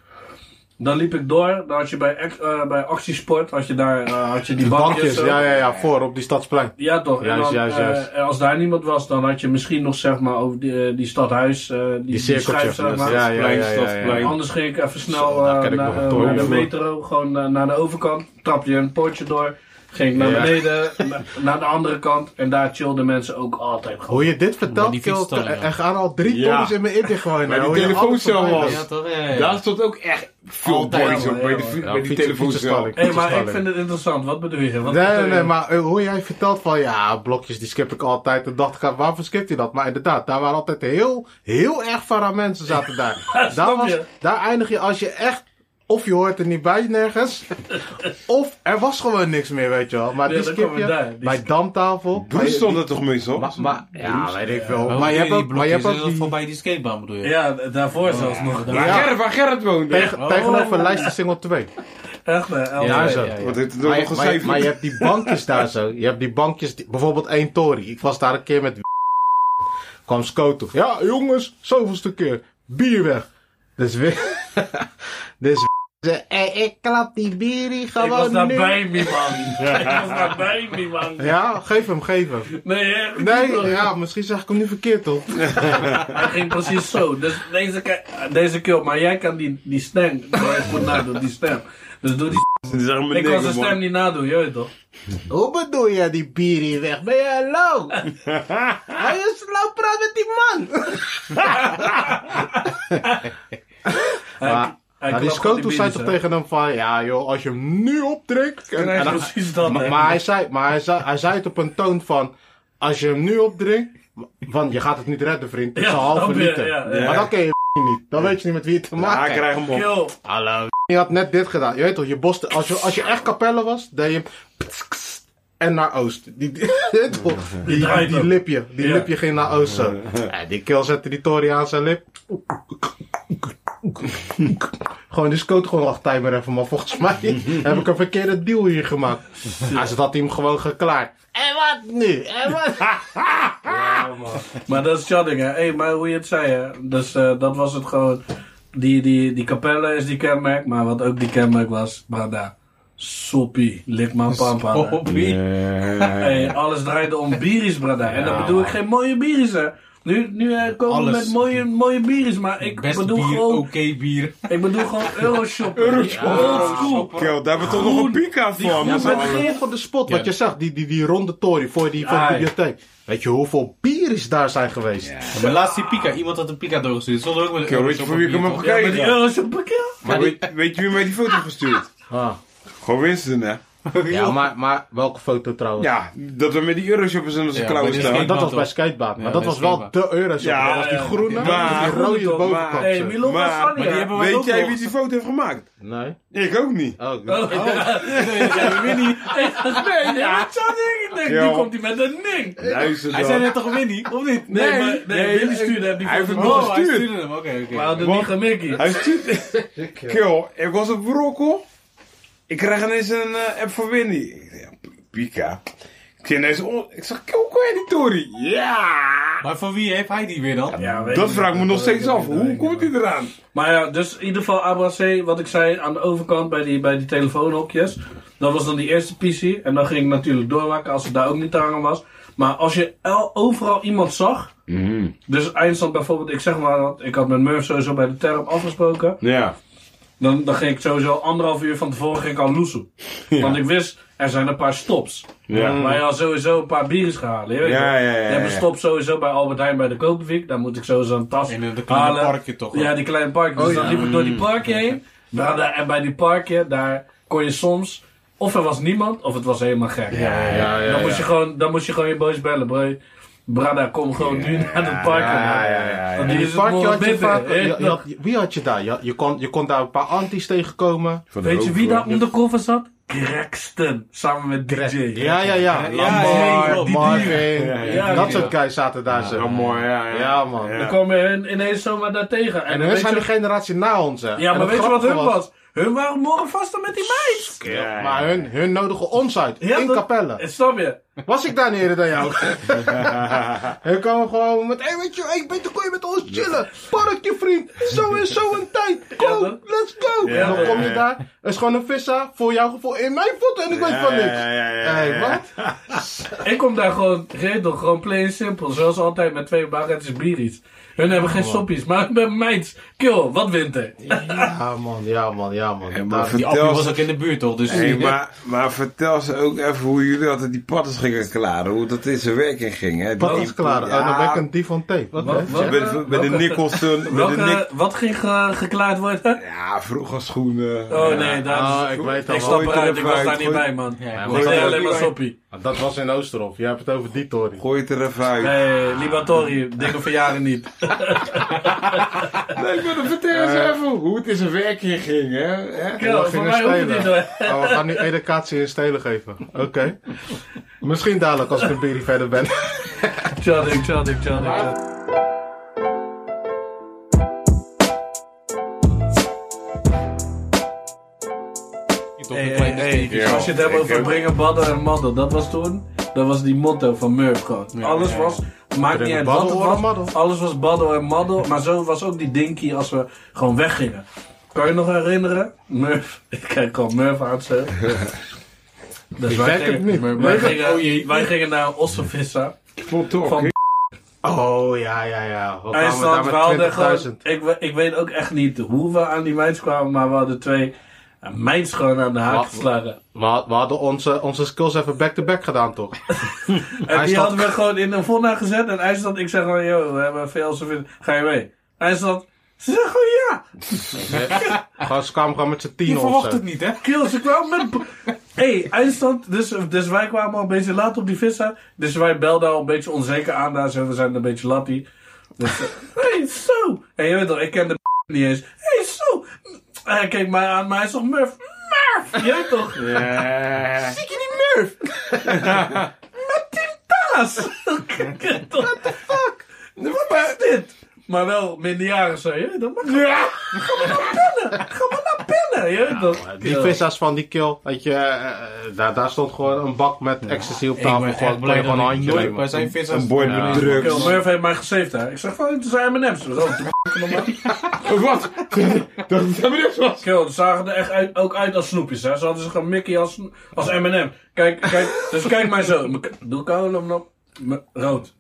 [SPEAKER 7] Dan liep ik door. Dan had je bij, ex- eh, bij Actiesport, had je daar eh, had je die,
[SPEAKER 4] Die
[SPEAKER 7] bankjes.
[SPEAKER 4] bankjes,
[SPEAKER 7] zo.
[SPEAKER 4] ja, ja, ja, voor op die stadsplein.
[SPEAKER 7] Ja, toch. En
[SPEAKER 4] Juist,
[SPEAKER 7] dan,
[SPEAKER 4] juist,
[SPEAKER 7] eh,
[SPEAKER 4] juist.
[SPEAKER 7] en als daar niemand was, dan had je misschien nog zeg maar over die, eh, die stadhuis, eh, die,
[SPEAKER 4] Die
[SPEAKER 7] die schijf,
[SPEAKER 4] cirkeltjes.
[SPEAKER 7] zeg maar.
[SPEAKER 4] Ja, ja, ja, ja, ja, ja.
[SPEAKER 7] En Anders ging ik even
[SPEAKER 4] Zo,
[SPEAKER 7] snel
[SPEAKER 4] daar
[SPEAKER 7] eh,
[SPEAKER 4] ken ik
[SPEAKER 7] naar,
[SPEAKER 4] nog een
[SPEAKER 7] eh,
[SPEAKER 4] toren
[SPEAKER 7] naar de
[SPEAKER 4] voor.
[SPEAKER 7] metro, gewoon eh, naar de overkant. Trap je een poortje door, ging ik naar
[SPEAKER 4] Ja.
[SPEAKER 7] beneden, na- naar de andere kant. En daar chillden mensen ook altijd gewoon.
[SPEAKER 4] Hoe je dit vertelt,
[SPEAKER 5] die
[SPEAKER 4] Kil,
[SPEAKER 5] fietsstalling, ja.
[SPEAKER 4] er gaan al drie
[SPEAKER 6] Ja.
[SPEAKER 4] tollies in mijn inti gewoon.
[SPEAKER 6] Maar
[SPEAKER 4] hè,
[SPEAKER 6] die
[SPEAKER 4] hoe je
[SPEAKER 6] telefoon
[SPEAKER 4] alles
[SPEAKER 6] zelf
[SPEAKER 4] voorbij
[SPEAKER 6] was.
[SPEAKER 4] bent.
[SPEAKER 5] Ja, toch? ja, ja.
[SPEAKER 6] Daar stond ook echt veel
[SPEAKER 4] Altijd
[SPEAKER 6] boys
[SPEAKER 7] wel,
[SPEAKER 6] op bij
[SPEAKER 7] ja,
[SPEAKER 6] die,
[SPEAKER 7] hoor.
[SPEAKER 4] Ja,
[SPEAKER 6] bij die
[SPEAKER 4] fietsen-
[SPEAKER 6] telefooncel.
[SPEAKER 4] fietsenstalling.
[SPEAKER 7] Hé, maar ik
[SPEAKER 4] Fietsenstalling.
[SPEAKER 7] vind het interessant. Wat bedoel je? Wat
[SPEAKER 4] Nee,
[SPEAKER 7] bedoel
[SPEAKER 4] nee,
[SPEAKER 7] je?
[SPEAKER 4] nee, maar eh, hoe jij vertelt van ja, blokjes die skip ik altijd. En dacht ik, ah, waarvoor skipt hij dat? Maar inderdaad, daar waren altijd heel, heel erg vara mensen zaten daar. daar,
[SPEAKER 7] Snap
[SPEAKER 4] was,
[SPEAKER 7] je?
[SPEAKER 4] daar eindig je als je echt, of je hoort er niet bij nergens, of er was gewoon niks meer, weet je wel. Maar
[SPEAKER 7] Ja,
[SPEAKER 4] die
[SPEAKER 7] dan
[SPEAKER 4] skip
[SPEAKER 7] komen
[SPEAKER 4] je
[SPEAKER 7] we daar. Die
[SPEAKER 4] bij
[SPEAKER 7] skip-
[SPEAKER 4] damtafel.
[SPEAKER 6] Broer stond er toch meestal?
[SPEAKER 4] Maar, maar, ja, weet ik veel.
[SPEAKER 5] Maar,
[SPEAKER 4] Maar je hebt ook, maar je hebt
[SPEAKER 5] is
[SPEAKER 4] ook
[SPEAKER 5] dat
[SPEAKER 4] Oh, die-
[SPEAKER 5] voorbij die skatebaan bedoel je?
[SPEAKER 7] Ja, daarvoor zelfs nog.
[SPEAKER 6] Waar
[SPEAKER 4] Ja.
[SPEAKER 6] Gerrit- waar Gerrit woonde.
[SPEAKER 4] tegen,
[SPEAKER 5] Oh.
[SPEAKER 4] tegenover lijsten single 2.
[SPEAKER 7] Echt, eh, hè? Elf-
[SPEAKER 4] Ja, zo.
[SPEAKER 6] Wat heeft het
[SPEAKER 4] Maar,
[SPEAKER 6] nog
[SPEAKER 4] je- maar, je- maar je
[SPEAKER 6] gezegd?
[SPEAKER 4] hebt die bankjes daar zo. Je hebt die bankjes, die- bijvoorbeeld één Tory. Ik was daar een keer met. kwam Sco toe. Ja, jongens, zoveelste keer. Bier weg. Dus weer. dus ze. "Hey, ik klap die bier hier gewoon.
[SPEAKER 7] Ik was
[SPEAKER 4] nu."
[SPEAKER 7] daarbij, man. Ik was daarbij, man.
[SPEAKER 4] Ja, geef hem, geef hem.
[SPEAKER 7] Nee, echt.
[SPEAKER 4] Nee, ja, misschien zeg ik hem nu verkeerd toch?
[SPEAKER 7] Hij ging precies zo. Dus deze, ke- deze keer, maar jij kan die, die stem maar ik moet nadoen, die stem. Dus doe die Ik kan zijn stem niet nadoen, je weet toch?
[SPEAKER 4] Hoe bedoel je die bier hier weg? Ben je low? Hij is low praat met die man.
[SPEAKER 7] Hij-
[SPEAKER 4] Maar,
[SPEAKER 7] hij
[SPEAKER 4] maar die
[SPEAKER 7] klapt gewoon
[SPEAKER 4] Scoto
[SPEAKER 7] die
[SPEAKER 4] zei
[SPEAKER 7] binnen,
[SPEAKER 4] toch
[SPEAKER 7] zo.
[SPEAKER 4] tegen hem van, ja joh, als je hem nu opdrinkt... En,
[SPEAKER 7] Krijg je
[SPEAKER 4] en dan-
[SPEAKER 7] precies dat,
[SPEAKER 4] maar,
[SPEAKER 7] hè?
[SPEAKER 4] maar hij zei, maar hij, zei, hij zei het op een toon van, als je hem nu opdrinkt, want je gaat het niet redden vriend, het is
[SPEAKER 7] Ja,
[SPEAKER 4] een halve
[SPEAKER 7] snap je,
[SPEAKER 4] liter.
[SPEAKER 7] ja, ja.
[SPEAKER 4] Maar dan ken je niet, dan weet je niet met wie je te
[SPEAKER 6] Ja,
[SPEAKER 4] maken
[SPEAKER 6] hij
[SPEAKER 4] hebt.
[SPEAKER 6] krijgt hem op.
[SPEAKER 7] Yo,
[SPEAKER 4] Hallo. Je had net dit gedaan. Je weet toch, je boste, als, je, als je echt kapelle was, deed je. En naar Oost. Die, die, die, die,
[SPEAKER 7] draait
[SPEAKER 4] die
[SPEAKER 7] ook.
[SPEAKER 4] lipje. Die
[SPEAKER 7] Ja.
[SPEAKER 4] lipje ging naar Oost zo. En die kill zette die Tory aan zijn lip. Gewoon, die scoot gewoon acht timer even, maar volgens mij heb ik een verkeerde deal hier gemaakt. Ja, ze had hij hem gewoon geklaard. En wat nu? En wat?
[SPEAKER 7] maar dat is chatting, hè? Hé, maar hoe je het zei, hè? Dus eh, dat was het gewoon. Die, die, die kapelle is die kenmerk, maar wat ook die kenmerk was, Brada. Soppie, lik maar pampa.
[SPEAKER 5] Oh,
[SPEAKER 7] hè.
[SPEAKER 5] Hoppie.
[SPEAKER 7] Hey, alles draaide om bieries, brada. En dan bedoel ik geen mooie bieries, hè. Nu, nu eh, komen we
[SPEAKER 5] Alles.
[SPEAKER 7] met mooie, mooie bieries, maar ik
[SPEAKER 5] Best
[SPEAKER 7] bedoel
[SPEAKER 5] bier,
[SPEAKER 7] gewoon...
[SPEAKER 5] oké bier.
[SPEAKER 7] Ik bedoel gewoon Euroshop. Euroshop. Oldschool.
[SPEAKER 6] Kill, daar hebben we toch nog een pika van.
[SPEAKER 4] Ja,
[SPEAKER 6] met z'n
[SPEAKER 4] maar
[SPEAKER 6] allen.
[SPEAKER 4] geen van de spot, wat je zag, die, die, die ronde toren voor die, voor
[SPEAKER 7] Ah,
[SPEAKER 4] de
[SPEAKER 7] ja.
[SPEAKER 4] bibliotheek. Weet je hoeveel bieries daar zijn geweest?
[SPEAKER 5] Mijn laatste pika, iemand had een pika doorgestuurd. Stond ook met een
[SPEAKER 6] Kill, weet je
[SPEAKER 5] Euroshop
[SPEAKER 6] voor wie ik
[SPEAKER 5] bier,
[SPEAKER 6] hem heb
[SPEAKER 5] toch?
[SPEAKER 7] Ja, maar die
[SPEAKER 6] gekregen?
[SPEAKER 7] Euroshop pakket.
[SPEAKER 6] Maar weet- weet je wie mij die foto gestuurd?
[SPEAKER 4] Ah.
[SPEAKER 6] Gewoon Winston, hè?
[SPEAKER 4] Ja, maar, maar welke foto trouwens?
[SPEAKER 6] Ja, dat we met die euroshoppers in onze
[SPEAKER 5] Ja,
[SPEAKER 6] klauwen
[SPEAKER 5] maar dit is
[SPEAKER 6] staan.
[SPEAKER 5] geen-
[SPEAKER 4] dat was
[SPEAKER 5] toch?
[SPEAKER 4] bij skatebaan. Maar
[SPEAKER 5] Ja,
[SPEAKER 4] dat
[SPEAKER 5] bij
[SPEAKER 4] was wel
[SPEAKER 5] skatebaan.
[SPEAKER 4] de Euroshop.
[SPEAKER 6] Ja,
[SPEAKER 4] dat was die
[SPEAKER 7] ja,
[SPEAKER 4] groene,
[SPEAKER 6] maar-
[SPEAKER 4] die rode
[SPEAKER 7] maar-
[SPEAKER 4] bovenkant.
[SPEAKER 7] Hey,
[SPEAKER 4] zo.
[SPEAKER 7] Milo
[SPEAKER 6] Maar-
[SPEAKER 7] Bassani.
[SPEAKER 5] Maar die hebben wij
[SPEAKER 6] Weet
[SPEAKER 5] ook
[SPEAKER 6] jij
[SPEAKER 5] nog.
[SPEAKER 6] wie die foto heeft gemaakt?
[SPEAKER 4] Nee.
[SPEAKER 6] Ik ook niet.
[SPEAKER 4] Oh,
[SPEAKER 7] Oh, nee, dat weet niet. Nee, nee, dat zou ik niet. denken.
[SPEAKER 6] Ja.
[SPEAKER 7] Nu komt hij met een ding.
[SPEAKER 6] Luister
[SPEAKER 5] Hij
[SPEAKER 6] dan.
[SPEAKER 5] zei net toch Winnie, of niet?
[SPEAKER 7] Nee,
[SPEAKER 6] Nee,
[SPEAKER 7] maar nee,
[SPEAKER 6] nee,
[SPEAKER 7] Willy
[SPEAKER 6] ik-
[SPEAKER 7] stuurde hem die
[SPEAKER 6] hij
[SPEAKER 7] foto.
[SPEAKER 6] heeft hem
[SPEAKER 7] Oh,
[SPEAKER 6] nog
[SPEAKER 5] Oh, hij
[SPEAKER 6] gestuurd.
[SPEAKER 5] stuurde hem, oké, oké.
[SPEAKER 7] We hadden
[SPEAKER 6] Want-
[SPEAKER 7] niet gemikkie.
[SPEAKER 6] Hij stuurt. Kill, ik was op Brokkel. Ik krijg ineens een eh, app van Winnie. Ik zeg, ja, Pika. Ik zie ineens on- Ik zeg, kill, hoe je die Tory? Ja!
[SPEAKER 5] Maar van wie heeft hij die weer dan?
[SPEAKER 7] Ja, weet
[SPEAKER 6] Dat
[SPEAKER 7] ik
[SPEAKER 6] vraag ik
[SPEAKER 7] niet.
[SPEAKER 6] me nog
[SPEAKER 7] weet
[SPEAKER 6] steeds
[SPEAKER 7] ik
[SPEAKER 6] af.
[SPEAKER 7] niet,
[SPEAKER 6] Hoe
[SPEAKER 7] weet ik
[SPEAKER 6] komt
[SPEAKER 7] niet.
[SPEAKER 6] hij eraan?
[SPEAKER 7] Maar ja, dus in ieder geval Abra C, wat ik zei aan de overkant bij die, bij die telefoonhokjes. Dat was dan die eerste PC. En dan ging ik natuurlijk doorwakken als het daar ook niet aan was. Maar als je el- overal iemand zag.
[SPEAKER 6] Mhm.
[SPEAKER 7] Dus eindstand bijvoorbeeld, ik zeg maar wat, ik had met Murph sowieso bij de term afgesproken.
[SPEAKER 6] Ja.
[SPEAKER 7] Dan, dan ging ik sowieso anderhalf uur van tevoren ging ik al loesoe. Want ik wist, er zijn een paar stops.
[SPEAKER 6] Ja.
[SPEAKER 7] Maar je had sowieso een paar biertjes gehaald. Je weet
[SPEAKER 6] Ja,
[SPEAKER 7] wel.
[SPEAKER 6] ja, ja,
[SPEAKER 7] Je hebt een
[SPEAKER 6] ja.
[SPEAKER 7] stop sowieso bij Albert Heijn bij de Kopervik. Daar moet ik sowieso een tas
[SPEAKER 5] In een klein
[SPEAKER 7] halen.
[SPEAKER 5] parkje toch?
[SPEAKER 7] Ja, die kleine park. Dus dan liep ik door die parkje heen. Nou, daar- en bij die parkje, daar kon je soms... Of er was niemand, of het was helemaal gek.
[SPEAKER 5] Ja,
[SPEAKER 4] Ja, ja,
[SPEAKER 7] dan, moest
[SPEAKER 4] ja.
[SPEAKER 7] je gewoon, dan moest je gewoon je boys bellen, bro. Brada, kom gewoon nu naar het park.
[SPEAKER 6] Ja, ja, ja. ja.
[SPEAKER 7] Want
[SPEAKER 4] In
[SPEAKER 7] die
[SPEAKER 4] die
[SPEAKER 7] is het
[SPEAKER 4] parkje
[SPEAKER 7] morgen
[SPEAKER 4] had je
[SPEAKER 7] binnen,
[SPEAKER 4] vaak...
[SPEAKER 7] hè?
[SPEAKER 4] je- je had- wie had je daar? Je, je, kon, je kon daar een paar anties tegenkomen.
[SPEAKER 6] Van de
[SPEAKER 7] Weet je wie daar
[SPEAKER 6] hoofdvloer.
[SPEAKER 7] undercover zat? Braxton, samen met DJ.
[SPEAKER 4] Ja, ja, ja.
[SPEAKER 6] ja,
[SPEAKER 4] Lamar,
[SPEAKER 5] ja, ja.
[SPEAKER 4] Marvin.
[SPEAKER 6] Ja, ja,
[SPEAKER 7] ja.
[SPEAKER 4] Dat soort guys zaten daar zo.
[SPEAKER 6] Ja, mooi, ja, ja.
[SPEAKER 4] Ja, man.
[SPEAKER 7] Dan kwamen hun ineens zomaar daartegen.
[SPEAKER 4] En
[SPEAKER 7] dan
[SPEAKER 4] hun
[SPEAKER 7] weet
[SPEAKER 4] zijn
[SPEAKER 7] je-
[SPEAKER 4] de generatie na ons, hè.
[SPEAKER 7] Ja,
[SPEAKER 4] En
[SPEAKER 7] maar
[SPEAKER 4] het
[SPEAKER 7] weet je wat hun
[SPEAKER 4] grappige
[SPEAKER 7] was? Hun waren morgen vast met die meid.
[SPEAKER 6] Ja, ja, ja.
[SPEAKER 4] Maar hun, hun nodigen ons uit.
[SPEAKER 7] Ja,
[SPEAKER 4] in
[SPEAKER 7] dat-
[SPEAKER 4] Capelle.
[SPEAKER 7] Snap je?
[SPEAKER 4] Was ik daar niet eerder dan jou? hun komen gewoon met... Hé, hey, weet je, hey, beter kon je met ons chillen. Parkje, vriend. Zo en zo een tijd. Go,
[SPEAKER 7] dat-
[SPEAKER 4] let's go.
[SPEAKER 6] Ja,
[SPEAKER 4] en dan
[SPEAKER 6] ja,
[SPEAKER 4] kom je
[SPEAKER 6] ja.
[SPEAKER 4] daar. Er is gewoon een visser voor jouw gevoel in mijn voeten. En ik weet van niks.
[SPEAKER 6] Ja, ja, ja, ja,
[SPEAKER 4] Hé,
[SPEAKER 6] ja.
[SPEAKER 4] wat?
[SPEAKER 7] Ik kom daar gewoon, geen toch, gewoon plain simpel. Zoals altijd met twee baguettes bieries. Hun hebben geen soppies, maar met meids. Kill, wat wint er?
[SPEAKER 4] Ja, Ah, man. Ja, man. Ja, man.
[SPEAKER 6] Hey, maar
[SPEAKER 4] Daar-
[SPEAKER 5] Die
[SPEAKER 6] vertel
[SPEAKER 5] appie was
[SPEAKER 6] ze-
[SPEAKER 5] ook in de buurt, toch? Dus
[SPEAKER 6] Hey, maar, maar vertel ze ook even hoe jullie altijd die pattes gingen klaren. Hoe dat in zijn werking ging. Hè?
[SPEAKER 4] Wat is
[SPEAKER 6] Die-
[SPEAKER 4] klaar?
[SPEAKER 6] Ja,
[SPEAKER 4] Oh, dan ben ik een dief van tape. Oké.
[SPEAKER 7] Wat- wat-
[SPEAKER 6] bij de- bij de
[SPEAKER 7] Welke-
[SPEAKER 6] Nicholson. bij de
[SPEAKER 7] Welke,
[SPEAKER 6] Nic-
[SPEAKER 7] wat ging ge- geklaard worden?
[SPEAKER 6] ja, vroeger schoenen.
[SPEAKER 7] Oh
[SPEAKER 6] Ja.
[SPEAKER 7] nee, daar
[SPEAKER 4] Ah, ik weet al wel.
[SPEAKER 7] ik stap eruit,
[SPEAKER 6] Gooi
[SPEAKER 7] ik
[SPEAKER 6] het
[SPEAKER 7] was
[SPEAKER 6] eruit,
[SPEAKER 7] daar niet
[SPEAKER 6] gooi-
[SPEAKER 7] bij, man.
[SPEAKER 5] Ja,
[SPEAKER 7] Ik
[SPEAKER 6] gooi het
[SPEAKER 7] deed alleen
[SPEAKER 6] eruit.
[SPEAKER 7] maar soppie.
[SPEAKER 4] Dat was in Oosterhof. Je hebt het over die toren.
[SPEAKER 6] Gooi het er even uit.
[SPEAKER 7] Nee, Libertori, dingen verjaren niet.
[SPEAKER 6] Nee, ik wil vertel
[SPEAKER 7] Eh,
[SPEAKER 6] eens even hoe het in zijn werking ging. Hè? Hè?
[SPEAKER 7] Kill,
[SPEAKER 4] we
[SPEAKER 7] voor
[SPEAKER 4] gingen
[SPEAKER 7] mij hoeft het niet
[SPEAKER 4] spelen.
[SPEAKER 7] hoor.
[SPEAKER 4] Oh, we gaan nu educatie in stelen geven. Oké. Misschien dadelijk als ik een beetje verder ben.
[SPEAKER 7] Tjaddik, tjaddik, tjaddik. Hey, hey, hey,
[SPEAKER 6] Ja,
[SPEAKER 7] Als je het hebt
[SPEAKER 6] ik
[SPEAKER 7] over
[SPEAKER 4] eh,
[SPEAKER 6] ook.
[SPEAKER 7] brengen badden en madden, dat was toen, dat was die motto van Murph gewoon. alles was, maakt niet
[SPEAKER 4] Brengen
[SPEAKER 7] uit wat
[SPEAKER 4] baddel,
[SPEAKER 7] het
[SPEAKER 4] oren,
[SPEAKER 7] was,
[SPEAKER 4] maddel.
[SPEAKER 7] alles was baddel en maddel, maar zo was ook die dinky als we gewoon weggingen. Kan je nog herinneren? Murph, ik kijk gewoon Murph aan zo. dus
[SPEAKER 4] Ik
[SPEAKER 7] wij
[SPEAKER 4] werk
[SPEAKER 7] gingen,
[SPEAKER 4] het niet.
[SPEAKER 7] Wij, gingen, wij gingen naar een ossenvisser.
[SPEAKER 6] Vol toch,
[SPEAKER 7] Van
[SPEAKER 6] hè?
[SPEAKER 4] Oh, ja, ja, ja. We kwamen
[SPEAKER 7] IJsland, we hadden
[SPEAKER 4] daar met 20.000.
[SPEAKER 7] gewoon, ik, we- ik weet ook echt niet hoe we aan die meid kwamen, maar we hadden twee eh, meids gewoon aan de haak
[SPEAKER 4] Wat?
[SPEAKER 7] geslagen.
[SPEAKER 4] We, had- we hadden onze, onze skills even back-to-back gedaan, toch?
[SPEAKER 7] En die
[SPEAKER 4] IJsland-
[SPEAKER 7] hadden we gewoon in een vonna gezet. En IJsland, ik zei gewoon, joh, we hebben veel zoveel. Ga je mee? IJsland, ze zei gewoon ja.
[SPEAKER 4] gewoon, ze kwamen gewoon met z'n
[SPEAKER 5] je
[SPEAKER 4] tien of
[SPEAKER 5] verwacht
[SPEAKER 4] zo.
[SPEAKER 5] het niet, hè?
[SPEAKER 7] Kill, ze kwamen met... Hé, hey, IJsland, dus, dus wij kwamen al een beetje laat op die vissen. Dus wij belden al een beetje onzeker aan daar. Zo, we zijn een beetje lappie. Dus, eh, hey, zo. En je weet toch, ik ken de niet eens. hey, zo. Hij keek mij aan, maar hij zegt, Murf, Murf. Jij toch?
[SPEAKER 6] Ja.
[SPEAKER 7] Zie je die Murf? Met die taas! What the fuck? Wat is dit? Maar wel minderjarigen zei je, dan mag ja. Ga maar naar binnen! Je weet toch?
[SPEAKER 4] Die vissers van die kill, weet je, eh, eh, daar, daar stond gewoon een bak met ecstasy op
[SPEAKER 5] Ik
[SPEAKER 4] tafel.
[SPEAKER 5] ben
[SPEAKER 4] gewoon
[SPEAKER 5] echt
[SPEAKER 4] kon
[SPEAKER 5] blij
[SPEAKER 4] je gewoon
[SPEAKER 5] dat ik
[SPEAKER 4] een handje
[SPEAKER 5] nooit bij
[SPEAKER 4] nemen.
[SPEAKER 5] zijn vissers...
[SPEAKER 6] Een boy met drugs.
[SPEAKER 7] Kill, Murph heeft mij gesaved daar. Ik zeg van, het zijn M&M's. Dat is ook de b- normaal.
[SPEAKER 4] Oh,
[SPEAKER 6] Wat? Dat dat dat niks was.
[SPEAKER 7] Kill, ze zagen er echt uit, ook uit als snoepjes. Hè. Ze hadden ze gewoon Mickey als, als M&M. Kijk, kijk, dus kijk maar zo. M'n k- Doe ik hou hem op. M'n- Rood.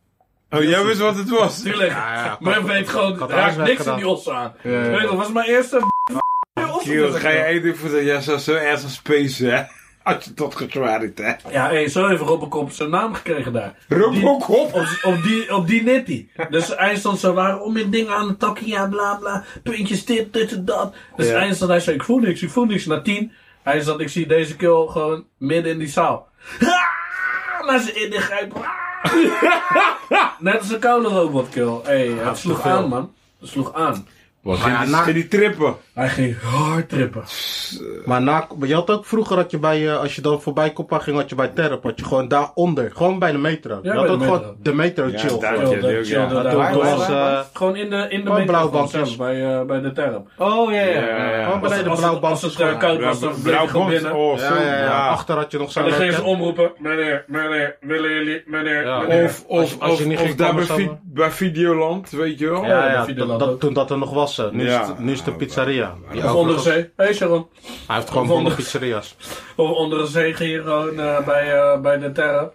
[SPEAKER 6] Oh, jij wist wat het was.
[SPEAKER 7] Tuurlijk.
[SPEAKER 4] ja,
[SPEAKER 7] Murph weet gewoon,
[SPEAKER 4] had
[SPEAKER 7] raakt
[SPEAKER 4] alles
[SPEAKER 7] niks in
[SPEAKER 4] weggedaan.
[SPEAKER 7] die ossen aan.
[SPEAKER 4] ja.
[SPEAKER 7] Weet je, dat was mijn eerste b-
[SPEAKER 6] Kiel, ga je eigenlijk voor dat jij zo, zo erg als space, hè? Had je dat gezwaard, hè?
[SPEAKER 7] Ja, hé, zo heeft Robocop zijn naam gekregen daar.
[SPEAKER 6] Robocop!
[SPEAKER 7] Op, op die, op die nippie. Dus IJsland, ze waren om in dingen aan het takken, ja, bla bla. Puntjes dit, dit en dat. Dus
[SPEAKER 6] Ja.
[SPEAKER 7] IJsland, hij zei, ik voel niks, ik voel niks. Na tien, IJsland, ik zie deze kill gewoon midden in die zaal. Ah, maar ze ingrijpen. Ah. Net als een koude robot kill. Hé, het sloeg
[SPEAKER 4] te veel.
[SPEAKER 7] aan, man. Het sloeg aan.
[SPEAKER 6] Wat
[SPEAKER 4] Maar ja,
[SPEAKER 6] ging, die-
[SPEAKER 4] na-
[SPEAKER 6] ging die trippen?
[SPEAKER 7] Hij ging hard trippen.
[SPEAKER 4] Maar na, je had ook vroeger, had je bij, eh, als je dan voorbij Koppa ging, had je bij Terp, had je gewoon daaronder, gewoon bij de metro. je
[SPEAKER 7] bij
[SPEAKER 4] had
[SPEAKER 7] de
[SPEAKER 4] ook
[SPEAKER 7] metro.
[SPEAKER 4] gewoon de metro
[SPEAKER 6] Ja,
[SPEAKER 4] chill.
[SPEAKER 6] daar-
[SPEAKER 4] gewoon.
[SPEAKER 6] Ja, leuk, ja.
[SPEAKER 7] daar-
[SPEAKER 4] Dat
[SPEAKER 7] daar-
[SPEAKER 4] doen we
[SPEAKER 7] daar-
[SPEAKER 4] als, eh,
[SPEAKER 7] Gewoon in de, in de
[SPEAKER 4] gewoon
[SPEAKER 7] metro
[SPEAKER 4] blauwbankjes.
[SPEAKER 7] gewoon zelf, bij, eh, bij de term.
[SPEAKER 5] Oh, ja, ja.
[SPEAKER 6] Ja, ja,
[SPEAKER 4] Gewoon bij de
[SPEAKER 6] ja.
[SPEAKER 7] als het- als
[SPEAKER 4] blauwband.
[SPEAKER 7] het, eh, koud was, dan bleef je gewoon
[SPEAKER 6] Blauwband,
[SPEAKER 7] binnen.
[SPEAKER 6] oh, zo.
[SPEAKER 4] Ja, ja, ja.
[SPEAKER 6] ja.
[SPEAKER 4] Achter had je nog
[SPEAKER 7] En
[SPEAKER 4] zo'n
[SPEAKER 7] dan gingen ze
[SPEAKER 4] loket.
[SPEAKER 7] omroepen, meneer, meneer, willen jullie, meneer,
[SPEAKER 4] Ja.
[SPEAKER 7] meneer.
[SPEAKER 6] Of, of,
[SPEAKER 4] Als je- als je
[SPEAKER 6] of-
[SPEAKER 4] niet
[SPEAKER 6] of
[SPEAKER 4] ging
[SPEAKER 6] daar bij,
[SPEAKER 4] komen
[SPEAKER 6] Vi-
[SPEAKER 4] samen.
[SPEAKER 6] bij Videoland, weet je wel.
[SPEAKER 4] Ja,
[SPEAKER 7] Oh,
[SPEAKER 4] ja,
[SPEAKER 7] dat
[SPEAKER 4] dat,
[SPEAKER 7] Videoland
[SPEAKER 4] dat-
[SPEAKER 7] ook.
[SPEAKER 4] toen dat er nog was. eh. Nu, is
[SPEAKER 6] Ja.
[SPEAKER 4] het, nu is het een
[SPEAKER 6] Ja,
[SPEAKER 4] pizzeria. Die
[SPEAKER 7] Of onder de
[SPEAKER 4] overigens-
[SPEAKER 7] zee. Hé, Sharon.
[SPEAKER 4] Hij heeft gewoon
[SPEAKER 7] Of onder-
[SPEAKER 4] honderd pizzeria's.
[SPEAKER 7] Of onder de zee ging je gewoon eh, bij, eh, bij de terra.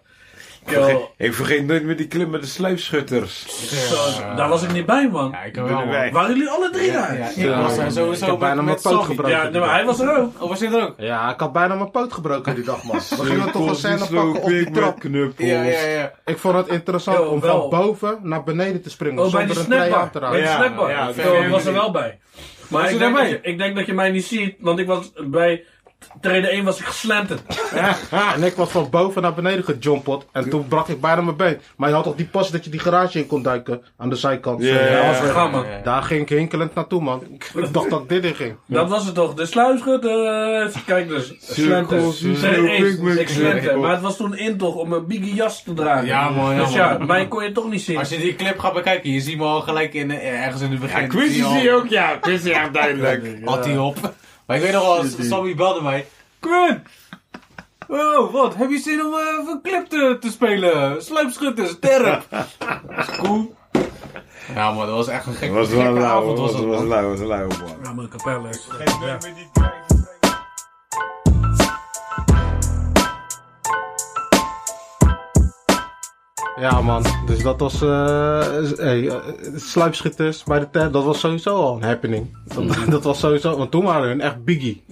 [SPEAKER 7] Yo,
[SPEAKER 6] Ik vergeet nooit meer die clip met de sluipschutters.
[SPEAKER 7] zo, daar was ik niet bij, man.
[SPEAKER 5] Ja, ik heb wel.
[SPEAKER 6] Wij.
[SPEAKER 7] Waren jullie alle drie daar?
[SPEAKER 5] Ja,
[SPEAKER 7] Ja,
[SPEAKER 5] ik was daar sowieso
[SPEAKER 4] Ik heb bijna
[SPEAKER 5] met-
[SPEAKER 4] mijn
[SPEAKER 5] met
[SPEAKER 4] poot
[SPEAKER 5] Soggy.
[SPEAKER 4] gebroken.
[SPEAKER 7] nee, maar hij was er ook.
[SPEAKER 5] Oh, was dit er ook?
[SPEAKER 4] Ja, ik had bijna mijn poot gebroken die dag, man. We gingen toch een
[SPEAKER 6] Komt die
[SPEAKER 4] scène pakken op die
[SPEAKER 6] slowquick met
[SPEAKER 4] trap.
[SPEAKER 6] knuppels.
[SPEAKER 5] Ja, ja, ja.
[SPEAKER 4] Ik vond het interessant
[SPEAKER 7] Yo,
[SPEAKER 4] om
[SPEAKER 7] wel.
[SPEAKER 4] van boven naar beneden te springen
[SPEAKER 7] Oh, bij die
[SPEAKER 4] zonder een trui aan te
[SPEAKER 7] snackbar.
[SPEAKER 4] raken.
[SPEAKER 7] Bij die
[SPEAKER 6] Ja,
[SPEAKER 7] snackbar.
[SPEAKER 6] ja,
[SPEAKER 7] ik
[SPEAKER 6] de
[SPEAKER 7] eh, was er
[SPEAKER 6] family.
[SPEAKER 7] wel bij. Maar
[SPEAKER 5] Was
[SPEAKER 7] ik
[SPEAKER 5] je
[SPEAKER 7] denk, dat
[SPEAKER 5] daarbij?
[SPEAKER 7] je, ik denk dat je mij niet ziet, want ik was bij treden 1 was ik geslamd.
[SPEAKER 4] En ik was van boven naar beneden gejompeld. En toen brak ik bijna mijn been. Maar je had toch die pas dat je die garage in kon duiken aan de zijkant.
[SPEAKER 6] Ja,
[SPEAKER 4] Zo,
[SPEAKER 6] ja,
[SPEAKER 4] was
[SPEAKER 6] ja,
[SPEAKER 4] weg.
[SPEAKER 7] ja,
[SPEAKER 5] ja.
[SPEAKER 4] Daar ging ik hinkelend naartoe, man. Ik dacht dat ik dit in ging.
[SPEAKER 7] Dat was het toch, de sluischutters. Kijk dus, slenten.
[SPEAKER 6] Cirkels, cirkels,
[SPEAKER 7] Treden 1, ik
[SPEAKER 6] cirkels.
[SPEAKER 7] slente. Maar het was toen in toch om een biggie jas te dragen.
[SPEAKER 5] Ja, man, ja,
[SPEAKER 7] Dus ja,
[SPEAKER 5] man.
[SPEAKER 7] mij kon je toch niet zien.
[SPEAKER 5] Als je die clip gaat bekijken, je ziet me al gelijk in, eh, ergens in het begin.
[SPEAKER 6] Ja, Quiz
[SPEAKER 5] zie je al-
[SPEAKER 6] zie je ook, ja. Quiz is echt duidelijk.
[SPEAKER 5] Had hij op. Maar ik weet nog wel, Sammy belde mij. Quinn!
[SPEAKER 7] Oh.
[SPEAKER 5] Wow, Oh, wat? Heb je zin om eh, even een clip te, te spelen? Sluipschutters, derp! Dat is cool. Ja, maar dat was echt een
[SPEAKER 6] Dat
[SPEAKER 5] gekke,
[SPEAKER 6] was wel
[SPEAKER 5] gekke
[SPEAKER 6] lauw,
[SPEAKER 5] avond.
[SPEAKER 6] dat
[SPEAKER 5] Was
[SPEAKER 6] was
[SPEAKER 5] dat,
[SPEAKER 6] wel
[SPEAKER 5] man.
[SPEAKER 6] lauw, was lauw, man.
[SPEAKER 7] Ja, mijn kapellen.
[SPEAKER 4] Ja, man. Dus dat was. eh hey, eh, sluipschutters bij de tent. Dat was sowieso al een happening. Dat, dat was sowieso. Want toen waren hun echt biggie.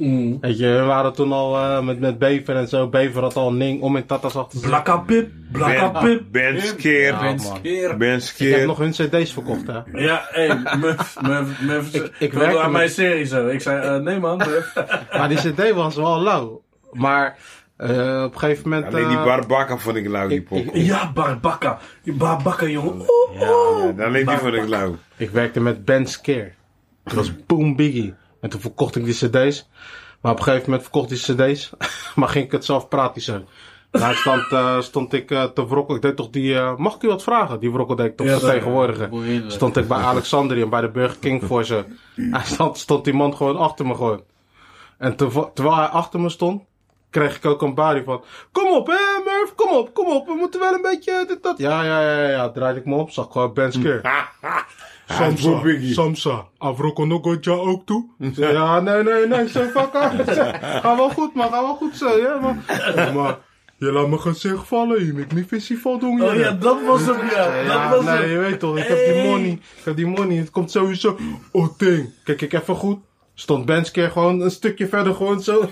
[SPEAKER 4] Weet je, hun waren toen al eh, met, met Bever en zo. Bever had al Ning om in Tata's achter zich.
[SPEAKER 7] Blakka pip, blakka pip.
[SPEAKER 6] Ben, ben skeer.
[SPEAKER 5] Ben
[SPEAKER 4] man.
[SPEAKER 5] skeer.
[SPEAKER 6] Ben
[SPEAKER 4] Ik heb nog
[SPEAKER 6] skeer.
[SPEAKER 4] hun CD's verkocht, hè?
[SPEAKER 7] Ja, hé, hey, Muff, Muff, Muff.
[SPEAKER 4] Ik- ik
[SPEAKER 7] wilde
[SPEAKER 4] werkte
[SPEAKER 7] aan
[SPEAKER 4] met-
[SPEAKER 7] mijn serie zo. Ik zei, eh, nee man, Muff.
[SPEAKER 4] Maar die CD was wel lauw. Maar eh, op een gegeven moment.
[SPEAKER 6] Alleen die
[SPEAKER 4] eh,
[SPEAKER 6] barbakken vond ik lauw, die
[SPEAKER 4] ik- ik-
[SPEAKER 6] pop.
[SPEAKER 7] Ja, Barbakka. Die Barbakka, jongen.
[SPEAKER 4] Oh,
[SPEAKER 7] Oeh.
[SPEAKER 6] Ja, alleen die vond ik lauw.
[SPEAKER 4] Ik werkte met Ben Scare. Dat was Boom Biggie. En toen verkocht ik die cd's. Maar op een gegeven moment verkocht ik die cd's. maar ging ik het zelf praten. Daar stond, eh, stond ik eh, te wrokken. Ik deed toch die... eh, mag ik u wat vragen? Die wrokkel deed ik toch
[SPEAKER 7] Ja, dat-
[SPEAKER 4] vertegenwoordigen.
[SPEAKER 5] Boeiend.
[SPEAKER 4] Stond ik bij Alexandrië bij de Burger King voor ze. En stond, stond die man gewoon achter me gewoon. En tervo- terwijl hij achter me stond, kreeg ik ook een barie van... Kom op, hè Murph, kom op, kom op. We moeten wel een beetje eh, dit, dat. Ja, ja, ja, ja, ja. Draaide ik me om, zag gewoon
[SPEAKER 7] Hm.
[SPEAKER 4] Ben Scare. Samsa, Samsa, Avroko Nogoja ook toe? Ja, nee, nee, nee, zo fuck off. Ga wel goed, man, ga wel goed zo, ja, man. Ja, maar, je laat mijn gezicht vallen, je moet niet visie voldoen,
[SPEAKER 7] Oh ja, dat was hem, ja.
[SPEAKER 4] ja,
[SPEAKER 7] Dat was
[SPEAKER 4] nee,
[SPEAKER 7] hem.
[SPEAKER 4] je weet toch, ik heb die
[SPEAKER 7] Hey.
[SPEAKER 4] money. Ik heb die money, het komt sowieso. Oh, ding. Kijk ik even goed. Stond Bensker gewoon een stukje verder, gewoon zo.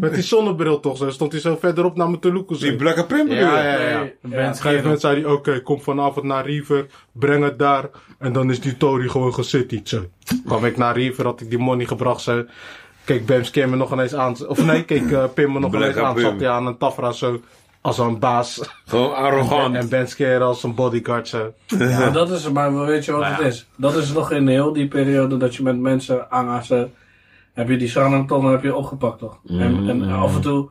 [SPEAKER 4] Met die zonnebril toch zo. Stond hij zo verderop naar me te loeken. zo.
[SPEAKER 6] Die blakke pimp bedoel
[SPEAKER 4] Ja,
[SPEAKER 6] je?
[SPEAKER 4] ja, ja.
[SPEAKER 7] Nee,
[SPEAKER 4] En op een gegeven moment zei hij, oké, kom vanavond naar River, breng het daar. En dan is die Tory gewoon gezittied. Zo. Kwam ik naar River, had ik die money gebracht. Zo. Keek Bams Kim me nog ineens aan. Of nee, keek eh Pim me nog
[SPEAKER 6] Black
[SPEAKER 4] ineens aan.
[SPEAKER 6] Pim.
[SPEAKER 4] Zat hij aan een tafra zo, als een baas.
[SPEAKER 6] Gewoon arrogant.
[SPEAKER 4] En Ben Scare als een bodyguard zo.
[SPEAKER 7] Ja, Nou dat is, maar weet je wat het is? Dat is nog in heel die periode dat je met mensen aanhaast. Heb je die Sananton heb je opgepakt toch? En, en af en toe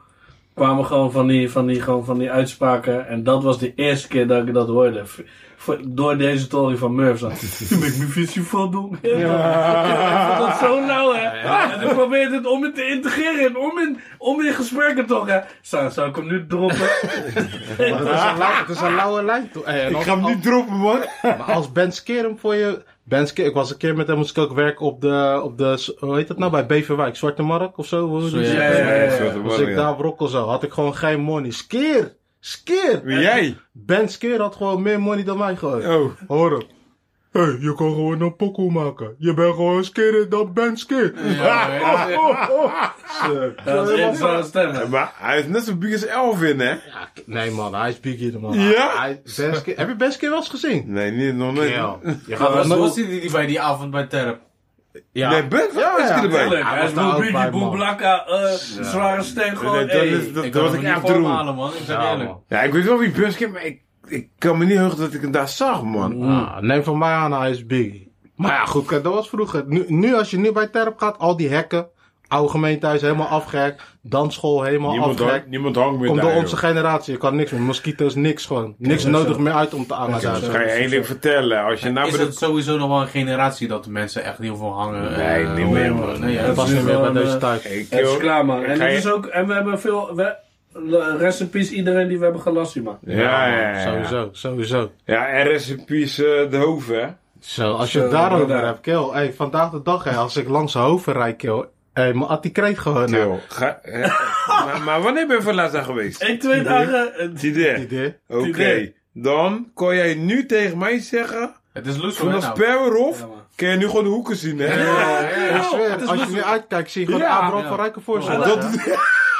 [SPEAKER 7] kwamen gewoon van die, van, die, gewoon van die uitspraken. En dat was de eerste keer dat ik dat hoorde. V- voor- door deze tory van Murph. Zo, Je moet me visie van doen. Ja. Ik vond dat zo nauw hè. En ik probeerde het om het te integreren. En om in, om in gesprekken toch hè. Zou, zou ik hem nu droppen?
[SPEAKER 4] Maar Het is een, lau- het is een lauwe lijn. toe. Hey, en
[SPEAKER 6] Ik
[SPEAKER 4] als-
[SPEAKER 6] ga hem niet droppen, man.
[SPEAKER 4] Maar als Ben Skeer hem voor je. Ben Skeer, ik was een keer met hem, moest ik ook werken op de. Op de hoe heet dat nou? Bij Beverwijk, Zwarte Markt of zo. Hoe die
[SPEAKER 5] ja,
[SPEAKER 4] shit
[SPEAKER 7] ja,
[SPEAKER 4] heet.
[SPEAKER 7] ja, ja.
[SPEAKER 6] Zwarte
[SPEAKER 4] Als
[SPEAKER 6] mannen,
[SPEAKER 4] ik
[SPEAKER 6] ja.
[SPEAKER 4] daar brokkel zou, had ik gewoon geen money. Skeer! Skeer!
[SPEAKER 6] Wie jij?
[SPEAKER 4] Ben Skeer had gewoon meer money dan mij gewoon.
[SPEAKER 6] Oh.
[SPEAKER 4] Hoor hem. Hé, hey, je kan gewoon een pokoe maken. Je bent gewoon skeer dan Ben Skeer.
[SPEAKER 5] Ja, ja, ja.
[SPEAKER 7] Dat is echt zo'n stem. hè.
[SPEAKER 6] Maar hij is net zo big als Elvin, hè?
[SPEAKER 4] Ja, nee man, hij is big hier man.
[SPEAKER 6] Ja?
[SPEAKER 4] Hij, ben Skeer, heb je Ben Skeer wel eens gezien?
[SPEAKER 6] Nee, niet, nog nooit.
[SPEAKER 4] Ja. Je
[SPEAKER 5] Maar
[SPEAKER 4] gaat
[SPEAKER 5] was,
[SPEAKER 4] wel
[SPEAKER 5] was die, die bij die avond bij Terp?
[SPEAKER 4] Ja.
[SPEAKER 6] Nee, Ben,
[SPEAKER 4] Ja,
[SPEAKER 6] ja, is
[SPEAKER 4] ja,
[SPEAKER 6] erbij.
[SPEAKER 7] Tuurlijk,
[SPEAKER 4] Hij
[SPEAKER 7] hij
[SPEAKER 4] was
[SPEAKER 7] is
[SPEAKER 4] daar
[SPEAKER 7] wel
[SPEAKER 4] ook bij,
[SPEAKER 7] Biggie
[SPEAKER 4] man.
[SPEAKER 7] Boeblakka, eh zware stem
[SPEAKER 6] Nee,
[SPEAKER 7] gewoon.
[SPEAKER 6] dat
[SPEAKER 7] hey.
[SPEAKER 6] is- dat-
[SPEAKER 5] Ik kan
[SPEAKER 6] dat was
[SPEAKER 5] hem
[SPEAKER 6] ik
[SPEAKER 5] niet
[SPEAKER 6] echt droom.
[SPEAKER 5] voorhalen, man. Ik zeg
[SPEAKER 4] Ja,
[SPEAKER 5] eerlijk.
[SPEAKER 4] man.
[SPEAKER 6] Ja, ik weet wel wie Buskin, maar ik, ik kan me niet heugen dat ik hem daar zag, man.
[SPEAKER 4] Ah, neem van mij aan, hij is big. Maar ja, goed, kijk, dat was vroeger. Nu, nu als je nu bij Terp gaat, al die hekken, oude gemeentehuis helemaal afgehekt, dansschool helemaal
[SPEAKER 6] Niemand,
[SPEAKER 4] afgehekt.
[SPEAKER 6] hang, niemand hangt meer
[SPEAKER 4] Komt
[SPEAKER 6] daar,
[SPEAKER 4] door
[SPEAKER 6] joh.
[SPEAKER 4] onze generatie, je kan niks meer. Mosquito's, niks gewoon. Niks nodig meer uit om te aan
[SPEAKER 6] Ja, Dat kan je eigenlijk vertellen. Als je nou
[SPEAKER 5] Is
[SPEAKER 6] bij de-
[SPEAKER 5] het sowieso nog wel een generatie dat de mensen echt heel veel hangen?
[SPEAKER 6] Nee,
[SPEAKER 5] eh,
[SPEAKER 6] niet meer,
[SPEAKER 5] horen?
[SPEAKER 6] man.
[SPEAKER 5] Nee, ja,
[SPEAKER 7] Dat
[SPEAKER 4] Dat
[SPEAKER 5] dat
[SPEAKER 4] was
[SPEAKER 5] is
[SPEAKER 4] niet meer bij
[SPEAKER 7] wel,
[SPEAKER 4] deze
[SPEAKER 7] eh,
[SPEAKER 4] tijd.
[SPEAKER 6] Ik,
[SPEAKER 7] Het is
[SPEAKER 6] joh.
[SPEAKER 7] klaar, man. En,
[SPEAKER 6] Ga
[SPEAKER 7] het
[SPEAKER 6] je-
[SPEAKER 7] is ook, en we hebben veel... We, rest in peace iedereen die we hebben gelast, man.
[SPEAKER 6] Ja, ja, ja.
[SPEAKER 4] Sowieso, sowieso.
[SPEAKER 6] Ja, en recipes eh de hoofd, hè?
[SPEAKER 4] Zo, als je
[SPEAKER 7] Zo,
[SPEAKER 4] het daarover
[SPEAKER 7] inderdaad.
[SPEAKER 4] hebt, kill. Hey, vandaag de dag, hè, als ik langs Hoven rijd, kill. Hé, hey, maar had die kreet gewoon. nou?
[SPEAKER 6] Til. Ga- hè? maar, maar wanneer ben je voor laatst daar geweest?
[SPEAKER 7] Ik twee dagen.
[SPEAKER 6] Tide.
[SPEAKER 4] Idee.
[SPEAKER 6] Oké. Dan kon jij nu tegen mij zeggen...
[SPEAKER 5] Het is nou. loes
[SPEAKER 6] Vanaf Sperwerhof kan je nu gewoon de hoeken zien, hè?
[SPEAKER 4] Ik zweer, als je nu uitkijkt, zie je gewoon
[SPEAKER 6] Ja.
[SPEAKER 4] Abraham van Rijkenvoort.
[SPEAKER 7] Ja.
[SPEAKER 4] Dat
[SPEAKER 6] Dat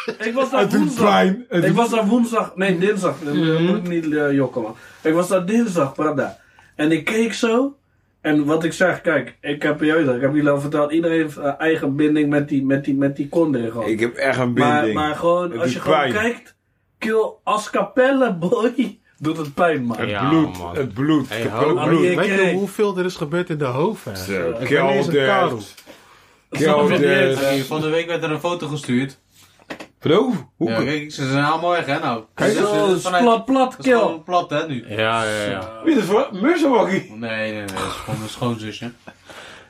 [SPEAKER 7] Ik was daar
[SPEAKER 6] het doet
[SPEAKER 7] woensdag.
[SPEAKER 6] pijn. Het
[SPEAKER 7] Ik
[SPEAKER 6] doet-
[SPEAKER 7] was daar woensdag, nee dinsdag, dat moet ik niet eh, jokken man. Ik was daar dinsdag, Prada. En ik keek zo, en wat ik zeg, kijk, ik heb je weet, ik heb jullie al verteld, iedereen heeft eh, eigen binding met die, met die, met die konding gewoon.
[SPEAKER 6] Ik heb echt een
[SPEAKER 7] maar,
[SPEAKER 6] binding.
[SPEAKER 7] maar gewoon,
[SPEAKER 6] Het
[SPEAKER 7] als je
[SPEAKER 6] doet
[SPEAKER 7] gewoon
[SPEAKER 6] pijn.
[SPEAKER 7] kijkt, kill als capelle boy, doet het pijn man.
[SPEAKER 6] Het
[SPEAKER 4] Ja,
[SPEAKER 6] bloed,
[SPEAKER 4] man.
[SPEAKER 6] het bloed.
[SPEAKER 4] Hey,
[SPEAKER 6] Ik heb
[SPEAKER 4] ho,
[SPEAKER 6] ook
[SPEAKER 4] ho,
[SPEAKER 6] bloed.
[SPEAKER 7] Annie,
[SPEAKER 4] Weet je
[SPEAKER 7] Kijk.
[SPEAKER 4] hoeveel er is gebeurd in de hoofd?
[SPEAKER 6] Zo,
[SPEAKER 4] Ik ben eens een karel.
[SPEAKER 6] Kelders. Kelders.
[SPEAKER 5] Van de week werd er een foto gestuurd.
[SPEAKER 6] Bro, hoe
[SPEAKER 5] Ja, kijk, ze zijn allemaal weg, hè, nou.
[SPEAKER 6] Kijk, dus, eh,
[SPEAKER 5] Ze- ze-
[SPEAKER 7] Zo,
[SPEAKER 5] ze- vanuit-
[SPEAKER 7] plat, plat,
[SPEAKER 5] Dat is
[SPEAKER 7] kill.
[SPEAKER 5] gewoon plat, hè, nu.
[SPEAKER 4] Ja, ja, ja.
[SPEAKER 6] Wie is het voor? Murzawaki.
[SPEAKER 5] Nee, nee, nee. Dat is gewoon mijn schoonzusje.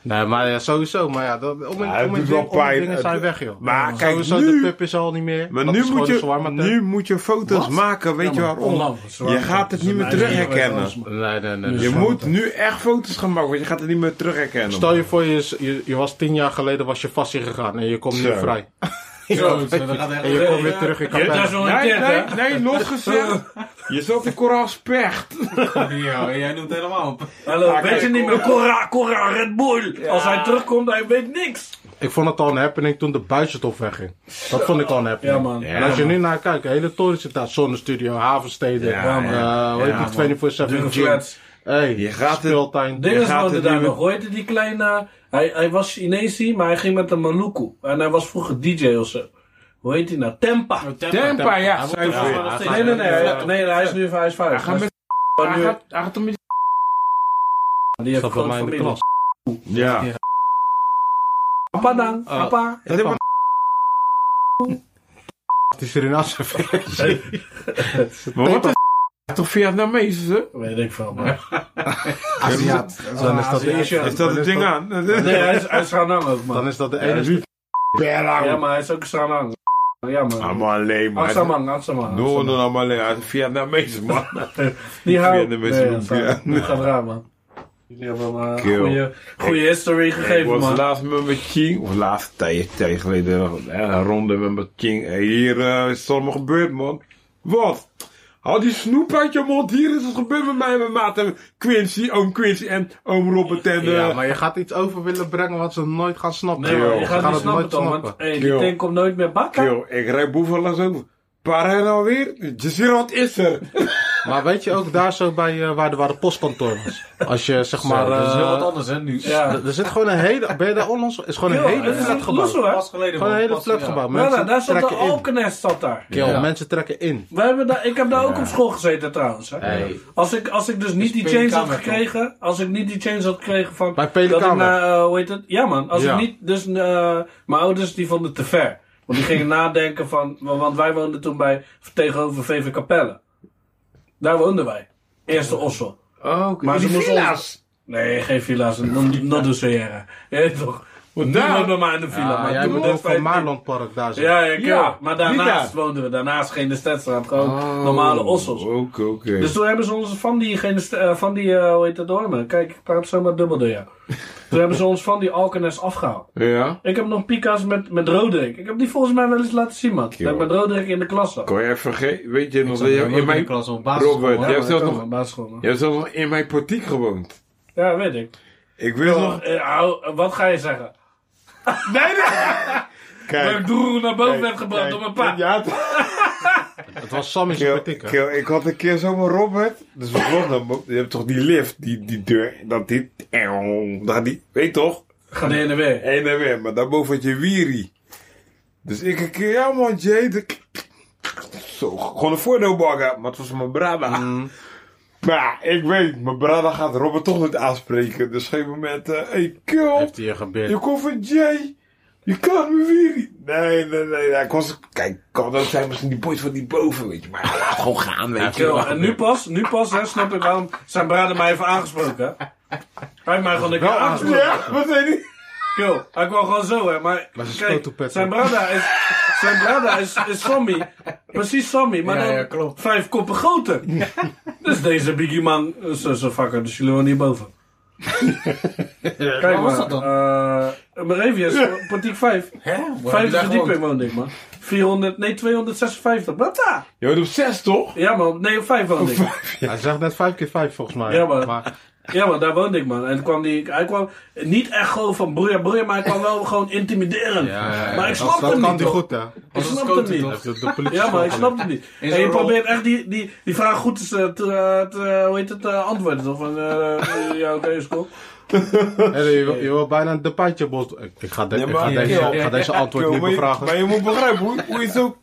[SPEAKER 4] Nee, maar ja, sowieso. Maar ja, dat, om,
[SPEAKER 6] Ja, het
[SPEAKER 4] om,
[SPEAKER 6] doet
[SPEAKER 4] om,
[SPEAKER 6] wel
[SPEAKER 4] ding- om
[SPEAKER 6] pijn.
[SPEAKER 4] dingen
[SPEAKER 6] Het-
[SPEAKER 4] zijn weg, joh.
[SPEAKER 6] Maar
[SPEAKER 4] Ja,
[SPEAKER 6] kijk,
[SPEAKER 4] sowieso,
[SPEAKER 6] nu-
[SPEAKER 4] de pub is al niet meer.
[SPEAKER 6] Maar
[SPEAKER 4] Dat
[SPEAKER 6] nu
[SPEAKER 4] is gewoon
[SPEAKER 6] moet,
[SPEAKER 4] een zwaar
[SPEAKER 6] je,
[SPEAKER 4] mater-
[SPEAKER 6] nu moet je foto's maken, weet je waarom? Je gaat het niet meer terug herkennen.
[SPEAKER 4] Nee, nee, dus- nee.
[SPEAKER 6] Je moet nu echt foto's gaan maken, want je gaat het niet meer terug herkennen.
[SPEAKER 4] Stel je voor, je, is- je, je was tien jaar geleden was je vast gegaan en je komt nu
[SPEAKER 6] Zo.
[SPEAKER 4] vrij.
[SPEAKER 5] Zo, dat gaat
[SPEAKER 4] En je komt
[SPEAKER 5] echt...
[SPEAKER 4] weer terug in
[SPEAKER 7] Je hebt daar
[SPEAKER 4] Capelle.
[SPEAKER 7] zo'n
[SPEAKER 6] Nee,
[SPEAKER 7] tent,
[SPEAKER 6] nee,
[SPEAKER 7] hè?
[SPEAKER 6] nee, los gezegd. Je zat in Koraal Specht.
[SPEAKER 5] Ja, jij noemt het helemaal op.
[SPEAKER 7] Hallo,
[SPEAKER 6] Ah,
[SPEAKER 7] weet je
[SPEAKER 6] kijk,
[SPEAKER 7] niet meer, Cora, Cora, Red Bull. Als hij terugkomt, hij weet niks.
[SPEAKER 4] Ik vond het al een happening toen de buizertof wegging. Dat vond ik al een happening.
[SPEAKER 7] Ja, man.
[SPEAKER 4] En als je nu naar kijkt, de hele toren zit daar. Zonnestudio, Havensteden,
[SPEAKER 6] Ja,
[SPEAKER 4] eh,
[SPEAKER 6] ja.
[SPEAKER 4] hoe
[SPEAKER 6] Ja,
[SPEAKER 4] heet die, 24-7
[SPEAKER 7] Dunne
[SPEAKER 4] gym.
[SPEAKER 7] flats.
[SPEAKER 4] Hey,
[SPEAKER 6] Je gaat het-
[SPEAKER 4] speeltuin.
[SPEAKER 7] Ding is
[SPEAKER 6] gaat
[SPEAKER 7] woonde
[SPEAKER 6] het
[SPEAKER 7] daar
[SPEAKER 6] niet meer-
[SPEAKER 7] nog. Hoe heette die kleine... Hij, hij was Chinesi, maar hij ging met een Maluku. En hij was vroeger DJ of zo. Hoe heet die nou? Tempa.
[SPEAKER 6] Tempa, ja.
[SPEAKER 5] Hij
[SPEAKER 6] zuiver.
[SPEAKER 5] wordt-
[SPEAKER 6] Hij
[SPEAKER 4] hij-
[SPEAKER 7] Nee, nee, nee. Hij, nee, hij is nu hij is vijf.
[SPEAKER 6] gaat met...
[SPEAKER 7] Hij is
[SPEAKER 6] Hij
[SPEAKER 7] nu-
[SPEAKER 6] gaat- hij gaat om je...
[SPEAKER 7] Die heeft
[SPEAKER 4] Zat bij
[SPEAKER 7] gewoon
[SPEAKER 4] mij in de
[SPEAKER 7] familie.
[SPEAKER 4] klas.
[SPEAKER 6] Ja.
[SPEAKER 7] Papa dan.
[SPEAKER 4] Oh.
[SPEAKER 7] Papa.
[SPEAKER 6] Dat is wel-
[SPEAKER 4] Het is er in Assenveer.
[SPEAKER 6] Maar wat is toch Vietnamese? hè?
[SPEAKER 7] Weet ik veel, man.
[SPEAKER 4] Aziat. Dan is dat de
[SPEAKER 7] Aziat.
[SPEAKER 4] eerste.
[SPEAKER 6] Is dat het ding aan?
[SPEAKER 7] Nee, hij is, hij is Ranang ook, man.
[SPEAKER 4] Dan is dat de
[SPEAKER 6] Ja,
[SPEAKER 4] enige.
[SPEAKER 7] Ja,
[SPEAKER 6] Berang.
[SPEAKER 7] maar hij is ook Ranang. Ja, man. Ah,
[SPEAKER 6] Allemaal alleen Ah, maar.
[SPEAKER 7] Aksamang, Aksamang.
[SPEAKER 6] Noorden Oh, dan allemaal alleen. Hij is Vietnamese man.
[SPEAKER 7] Die houdt.
[SPEAKER 6] Vietnamese
[SPEAKER 7] Nee,
[SPEAKER 6] roep,
[SPEAKER 7] dat gaat-
[SPEAKER 6] ja.
[SPEAKER 7] dat gaat raar, man. Jullie hebben maar
[SPEAKER 6] Kill.
[SPEAKER 7] goede, goede history
[SPEAKER 6] Ik
[SPEAKER 7] gegeven,
[SPEAKER 6] was
[SPEAKER 7] man.
[SPEAKER 6] laatst met mijn Ching, of laatst tijd tijd geleden, hè, een ronde met mijn Ching. En hier eh, is het allemaal gebeurd, man. Wat? Haal die snoep uit je mond, hier is het gebeurd met mij, en mijn maat. En Quincy, oom Quincy en oom Robert en... eh,
[SPEAKER 4] Ja, maar je gaat iets over willen brengen wat ze nooit gaan snappen.
[SPEAKER 7] Nee,
[SPEAKER 6] Kill.
[SPEAKER 7] man, je
[SPEAKER 4] Ze
[SPEAKER 7] gaat
[SPEAKER 4] gaan
[SPEAKER 7] niet snappen, Tom. Want
[SPEAKER 4] snappen.
[SPEAKER 7] hey, die
[SPEAKER 6] Kill.
[SPEAKER 7] tank komt nooit meer bakken.
[SPEAKER 6] Yo, ik rijd boeven langs over. Waar hij nou weer? Jezira, wat is er?
[SPEAKER 4] Maar weet je ook daar zo bij eh, waar, de, waar de postkantoor was? Als je zeg maar.
[SPEAKER 5] Maar dat is heel
[SPEAKER 4] eh,
[SPEAKER 5] wat anders, hè, nu.
[SPEAKER 7] Ja.
[SPEAKER 4] er- er zit gewoon een hele. Ben je daar onlangs? Is gewoon een
[SPEAKER 7] Yo,
[SPEAKER 4] hele
[SPEAKER 7] het is
[SPEAKER 4] flat
[SPEAKER 7] een
[SPEAKER 4] gebouw.
[SPEAKER 7] loezo, hè?
[SPEAKER 5] Pas geleden,
[SPEAKER 4] Gewoon een
[SPEAKER 5] man.
[SPEAKER 4] hele
[SPEAKER 5] Pas-
[SPEAKER 4] flat
[SPEAKER 5] ja.
[SPEAKER 4] gebouw.
[SPEAKER 7] Ja,
[SPEAKER 4] Mensen
[SPEAKER 7] nou, daar zat de
[SPEAKER 4] trekken in.
[SPEAKER 7] Alkenest zat daar.
[SPEAKER 4] Kill,
[SPEAKER 5] Ja.
[SPEAKER 4] Mensen trekken in.
[SPEAKER 7] We hebben daar, ik heb daar ook op school gezeten trouwens. Hè.
[SPEAKER 4] Hey.
[SPEAKER 7] Als, ik, als ik dus niet die
[SPEAKER 5] Pelikaan
[SPEAKER 7] change had
[SPEAKER 5] werd
[SPEAKER 7] gekregen. Als ik niet die change had gekregen van.
[SPEAKER 4] Bij Pelikaan
[SPEAKER 7] dat ik
[SPEAKER 4] werd.
[SPEAKER 7] naar, eh, hoe heet het? Ja man. Als
[SPEAKER 4] Ja.
[SPEAKER 7] ik niet. Dus eh, mijn ouders die vonden het te ver. Want die gingen nadenken van. Want wij woonden toen bij tegenover VV Capelle. Daar woonden wij. Eerste Ossel.
[SPEAKER 6] Oh, oké.
[SPEAKER 7] Maar
[SPEAKER 6] Die
[SPEAKER 7] ze moesten ons-
[SPEAKER 6] villa's.
[SPEAKER 7] Nee, geen villa's. Not, not de Sierra. Je weet toch? Want
[SPEAKER 6] daar-
[SPEAKER 7] daar bij mij in de villa.
[SPEAKER 4] Ja,
[SPEAKER 7] maar
[SPEAKER 4] Nou. Ah, jij
[SPEAKER 7] toen
[SPEAKER 4] moet
[SPEAKER 7] dat
[SPEAKER 4] ook
[SPEAKER 7] feit-
[SPEAKER 4] van Maarlandpark daar zijn.
[SPEAKER 7] Ja, ja, kill.
[SPEAKER 6] Ja, Oh.
[SPEAKER 7] maar daarnaast
[SPEAKER 6] die
[SPEAKER 7] woonden we. Daarnaast geen de Stedstraat. Gewoon
[SPEAKER 5] Oh.
[SPEAKER 7] normale Ossels.
[SPEAKER 6] Oké, oké.
[SPEAKER 7] Dus toen hebben ze ons van die, geen- eh, van die eh, hoe heet dat dormen? Kijk, ik praat zomaar dubbel door jou. toen hebben ze ons van die Alkenes afgehaald.
[SPEAKER 6] Ja?
[SPEAKER 7] Ik heb nog pika's met, met Roderick. Ik heb die volgens mij wel eens laten zien, man. Dat ik met Roderick in de klas zat.
[SPEAKER 6] Kon jij vergeten? Weet je nog
[SPEAKER 5] zat
[SPEAKER 6] dat
[SPEAKER 5] bij
[SPEAKER 6] jij
[SPEAKER 5] hem ook
[SPEAKER 6] in
[SPEAKER 5] in
[SPEAKER 6] mijn...
[SPEAKER 5] de klas op basisschool,
[SPEAKER 6] Robert,
[SPEAKER 5] hè?
[SPEAKER 6] jij hebt zelfs
[SPEAKER 7] Ja,
[SPEAKER 6] nog...
[SPEAKER 7] man, basisschool, man.
[SPEAKER 6] Jij hebt zelfs nog in mijn portiek gewoond.
[SPEAKER 7] Ja, weet ik.
[SPEAKER 6] Ik wil nog...
[SPEAKER 7] Eh, hou, wat ga je zeggen?
[SPEAKER 6] Nee,
[SPEAKER 7] Dat ik
[SPEAKER 6] Kijk.
[SPEAKER 7] Doeroe naar boven werd gebracht door mijn pa.
[SPEAKER 6] Ja,
[SPEAKER 4] Het was Sammy's
[SPEAKER 6] Kill,
[SPEAKER 4] partikken.
[SPEAKER 6] Kill, ik had een keer zomaar Robert. Dus we vlogen dan. Je hebt toch die lift, die, die deur. Dat die. eeuw, Dat die. Weet toch?
[SPEAKER 7] Ga de heen en weer.
[SPEAKER 6] Heen en weer. Maar daarboven had je Wiri. Dus ik een keer, ja man, Jay. de- Zo, gewoon een voordeelbagger. Maar het was mijn brada. Maar ja, ik weet, mijn brada gaat Robert toch niet aanspreken. Dus op een gegeven moment, eh hey, kill.
[SPEAKER 4] Heeft hij je gebeurd?
[SPEAKER 6] Je komt van Jay. Je kan me weer niet. Nee, nee, nee. nee. Ik was, kijk, kan dat zijn misschien die boys van die boven, weet je. Maar hij laat gewoon gaan, weet je.
[SPEAKER 7] Kill. En nu pas, nu pas, hè, snap ik waarom zijn braden mij even aangesproken. hè. Hij heeft mij gewoon een keer aangesproken.
[SPEAKER 6] Ja, wat zei hij?
[SPEAKER 7] Yo, hij kwam gewoon zo, hè. Maar,
[SPEAKER 4] Maar ze
[SPEAKER 7] kijk,
[SPEAKER 4] stoot op pet,
[SPEAKER 7] zijn
[SPEAKER 4] hè.
[SPEAKER 7] brada is, zijn brada is, is Sammy. Precies Sammy, maar
[SPEAKER 5] Ja,
[SPEAKER 7] dan
[SPEAKER 5] ja, klopt.
[SPEAKER 7] vijf koppen groter. dus deze Biggie Man, eh, zo, zo vakker, dus jullie wonen hierboven. Kijk
[SPEAKER 5] Waar
[SPEAKER 7] maar.
[SPEAKER 5] was dat dan?
[SPEAKER 7] eh, Moravia is partiek 5.
[SPEAKER 5] Hè? Waar heb je
[SPEAKER 7] Vijfde
[SPEAKER 5] daar
[SPEAKER 7] verdieping
[SPEAKER 5] gewoond?
[SPEAKER 7] woonde ik, man. 400, nee, 256. Wat daar?
[SPEAKER 6] Je hoort op zes, toch?
[SPEAKER 7] Ja, man. Nee, op 5 woonde ik.
[SPEAKER 4] Hij zegt net 5 keer 5 volgens mij.
[SPEAKER 7] Ja, maar- Ja, maar daar woonde ik, man. En toen kwam die, hij kwam niet echt gewoon van broeia broeia, maar hij kwam wel gewoon intimideren.
[SPEAKER 4] ja, ja, ja.
[SPEAKER 7] Maar ik
[SPEAKER 4] Dat-
[SPEAKER 7] snap
[SPEAKER 4] dat
[SPEAKER 7] hem
[SPEAKER 4] kan
[SPEAKER 7] niet,
[SPEAKER 4] hij
[SPEAKER 7] hoor.
[SPEAKER 4] goed, hè?
[SPEAKER 7] Ik
[SPEAKER 5] Dat is
[SPEAKER 7] snap
[SPEAKER 5] Cote,
[SPEAKER 7] hem niet.
[SPEAKER 5] toch?
[SPEAKER 4] Heeft de, de politie
[SPEAKER 7] Ja, maar ik
[SPEAKER 4] school
[SPEAKER 7] snap het niet.
[SPEAKER 5] In
[SPEAKER 7] En
[SPEAKER 5] zo'n
[SPEAKER 7] je
[SPEAKER 5] rol.
[SPEAKER 7] probeert echt die, die, die vraag goed te, te, te- hoe heet het, eh, antwoorden. Toch? Van, eh, ja, oké, is cool.
[SPEAKER 4] geleerd. Hey, je, wil- je wil bijna een depaitje bos. Ik, ik ga, de- ik ga
[SPEAKER 6] maar-
[SPEAKER 4] deze,
[SPEAKER 6] Ja,
[SPEAKER 4] ik ga deze antwoord
[SPEAKER 6] Yo,
[SPEAKER 4] niet
[SPEAKER 6] maar, je,
[SPEAKER 4] bevragen.
[SPEAKER 6] maar je moet begrijpen hoe, hoe je zo...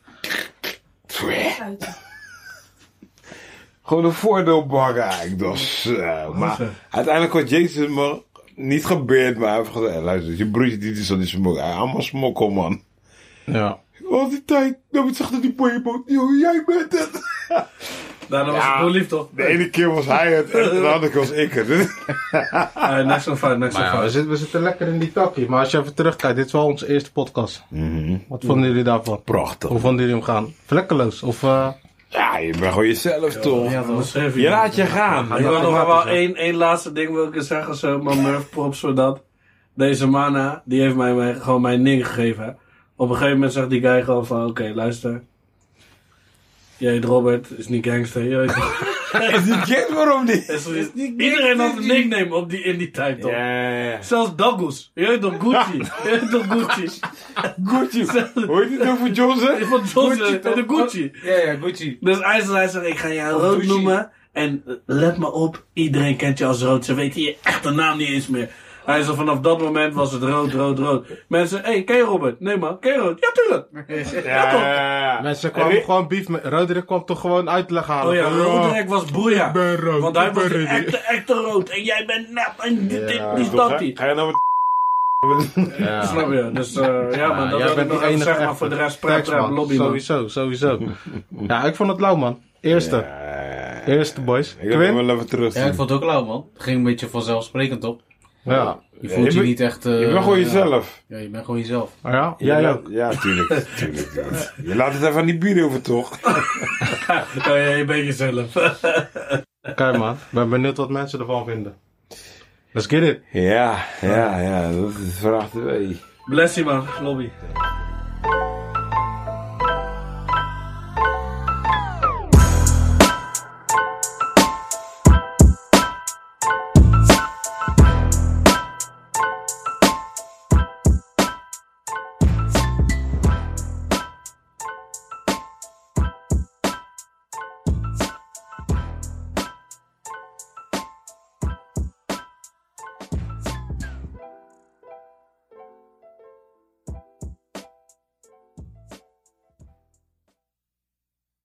[SPEAKER 6] Gewoon een voordeel bakken eigenlijk. Dat is, eh, maar uiteindelijk had Jezus maar niet gebeurd. Maar hij heeft gezegd, "Hé, luister, je broertje die is al die smokkel. Hij allemaal smokkel, man.
[SPEAKER 4] Ja.
[SPEAKER 6] Al die tijd, dan zegt dat die boeienboot, joh, jij bent het.
[SPEAKER 7] Nou, dat was
[SPEAKER 6] Ja.
[SPEAKER 7] gewoon lief, toch?
[SPEAKER 6] De ene keer was hij het en de andere keer was ik het.
[SPEAKER 7] Eh, niks aan fout, niks aan
[SPEAKER 4] Maar ja, we,
[SPEAKER 7] fout.
[SPEAKER 4] zitten, we zitten lekker in die takkie. Maar als je even terugkijkt, dit is wel onze eerste podcast. Wat vonden jullie daarvan?
[SPEAKER 6] Prachtig.
[SPEAKER 4] Hoe vonden jullie hem gaan? Vlekkeloos? Of, eh,
[SPEAKER 6] Ja, je bent gewoon jezelf, toch?
[SPEAKER 7] Ja, dat was schreef
[SPEAKER 6] Je laat je gaan.
[SPEAKER 7] Ik wil nog wel één, één laatste ding wil ik eens zeggen. Zo, maar Murph, props voor dat. Deze mana, die heeft mij, mij gewoon mijn ding gegeven. hè. Op een gegeven moment zegt die guy gewoon van... Oké, luister. Jij heet Robert, is niet gangster. Je weet toch?
[SPEAKER 6] Is die kind waarom niet?
[SPEAKER 7] Is- is- Iedereen had een nickname op die, in die tijd toch? Zelfs Douglas. Je weet toch Gucci? Je weet toch Gucci?
[SPEAKER 6] Gucci. Hoor je dit over Johnson?
[SPEAKER 7] Van Johnson
[SPEAKER 5] toch?
[SPEAKER 7] en de Gucci.
[SPEAKER 5] Ja, ja, Gucci.
[SPEAKER 7] Dus IJsselheid zegt, ik ga jou rood
[SPEAKER 5] douche.
[SPEAKER 7] noemen. En eh, let me op, iedereen kent je als rood. Ze weten je echte naam niet eens meer. Hij zei, vanaf dat moment was het rood, rood, rood. Mensen, hé, hey, ken je Robert? Nee man, ken je rood? Ja, tuurlijk.
[SPEAKER 6] Ja, ja, ja.
[SPEAKER 4] mensen kwamen gewoon beef met... Roderick kwam toch gewoon uitleg halen?
[SPEAKER 7] Oh ja,
[SPEAKER 4] Van,
[SPEAKER 7] Roderick was broeia.
[SPEAKER 4] ben rood,
[SPEAKER 7] Want hij
[SPEAKER 4] ik
[SPEAKER 7] was
[SPEAKER 4] ben
[SPEAKER 7] de
[SPEAKER 4] Roderick.
[SPEAKER 7] echte, echte rood. En jij bent nep en dit, dit,
[SPEAKER 4] Ja,
[SPEAKER 7] die
[SPEAKER 6] Toch,
[SPEAKER 7] dat,
[SPEAKER 6] hè?
[SPEAKER 7] die.
[SPEAKER 6] Ga je nou met
[SPEAKER 4] Ja.
[SPEAKER 7] Snap je? Dus eh, ja man, dat
[SPEAKER 4] jij
[SPEAKER 7] wil ik
[SPEAKER 4] bent die
[SPEAKER 7] nog even
[SPEAKER 4] enige
[SPEAKER 7] zeggen.
[SPEAKER 4] echte.
[SPEAKER 7] Maar voor de rest,
[SPEAKER 4] Thanks,
[SPEAKER 7] prep, prep,
[SPEAKER 4] man.
[SPEAKER 7] lobby man.
[SPEAKER 4] Sowieso, sowieso. ja, ik vond het lauw, man. Eerste. Eerste, boys.
[SPEAKER 6] Ik wil hem
[SPEAKER 4] Quinn?
[SPEAKER 6] wel even terug.
[SPEAKER 5] Ja, ik vond het ook lauw, man. Het ging een beetje vanzelfsprekend op.
[SPEAKER 4] Ja.
[SPEAKER 5] Je
[SPEAKER 6] je
[SPEAKER 5] voelt je
[SPEAKER 6] bent-
[SPEAKER 5] niet echt... eh,
[SPEAKER 6] Je bent gewoon
[SPEAKER 5] ja.
[SPEAKER 6] jezelf.
[SPEAKER 5] Ja, je bent gewoon jezelf.
[SPEAKER 4] ja?
[SPEAKER 6] Je
[SPEAKER 4] Jij
[SPEAKER 6] laat-
[SPEAKER 4] ook?
[SPEAKER 6] Ja, tuurlijk. tuurlijk. Je laat het even aan die buren over, toch?
[SPEAKER 7] Ja, ja, je bent jezelf.
[SPEAKER 4] Kijk, man. Ik ben benieuwd wat mensen ervan vinden. Let's get it.
[SPEAKER 6] Ja, ja, ja. Dat is vraag 2.
[SPEAKER 7] Blessie man, lobby.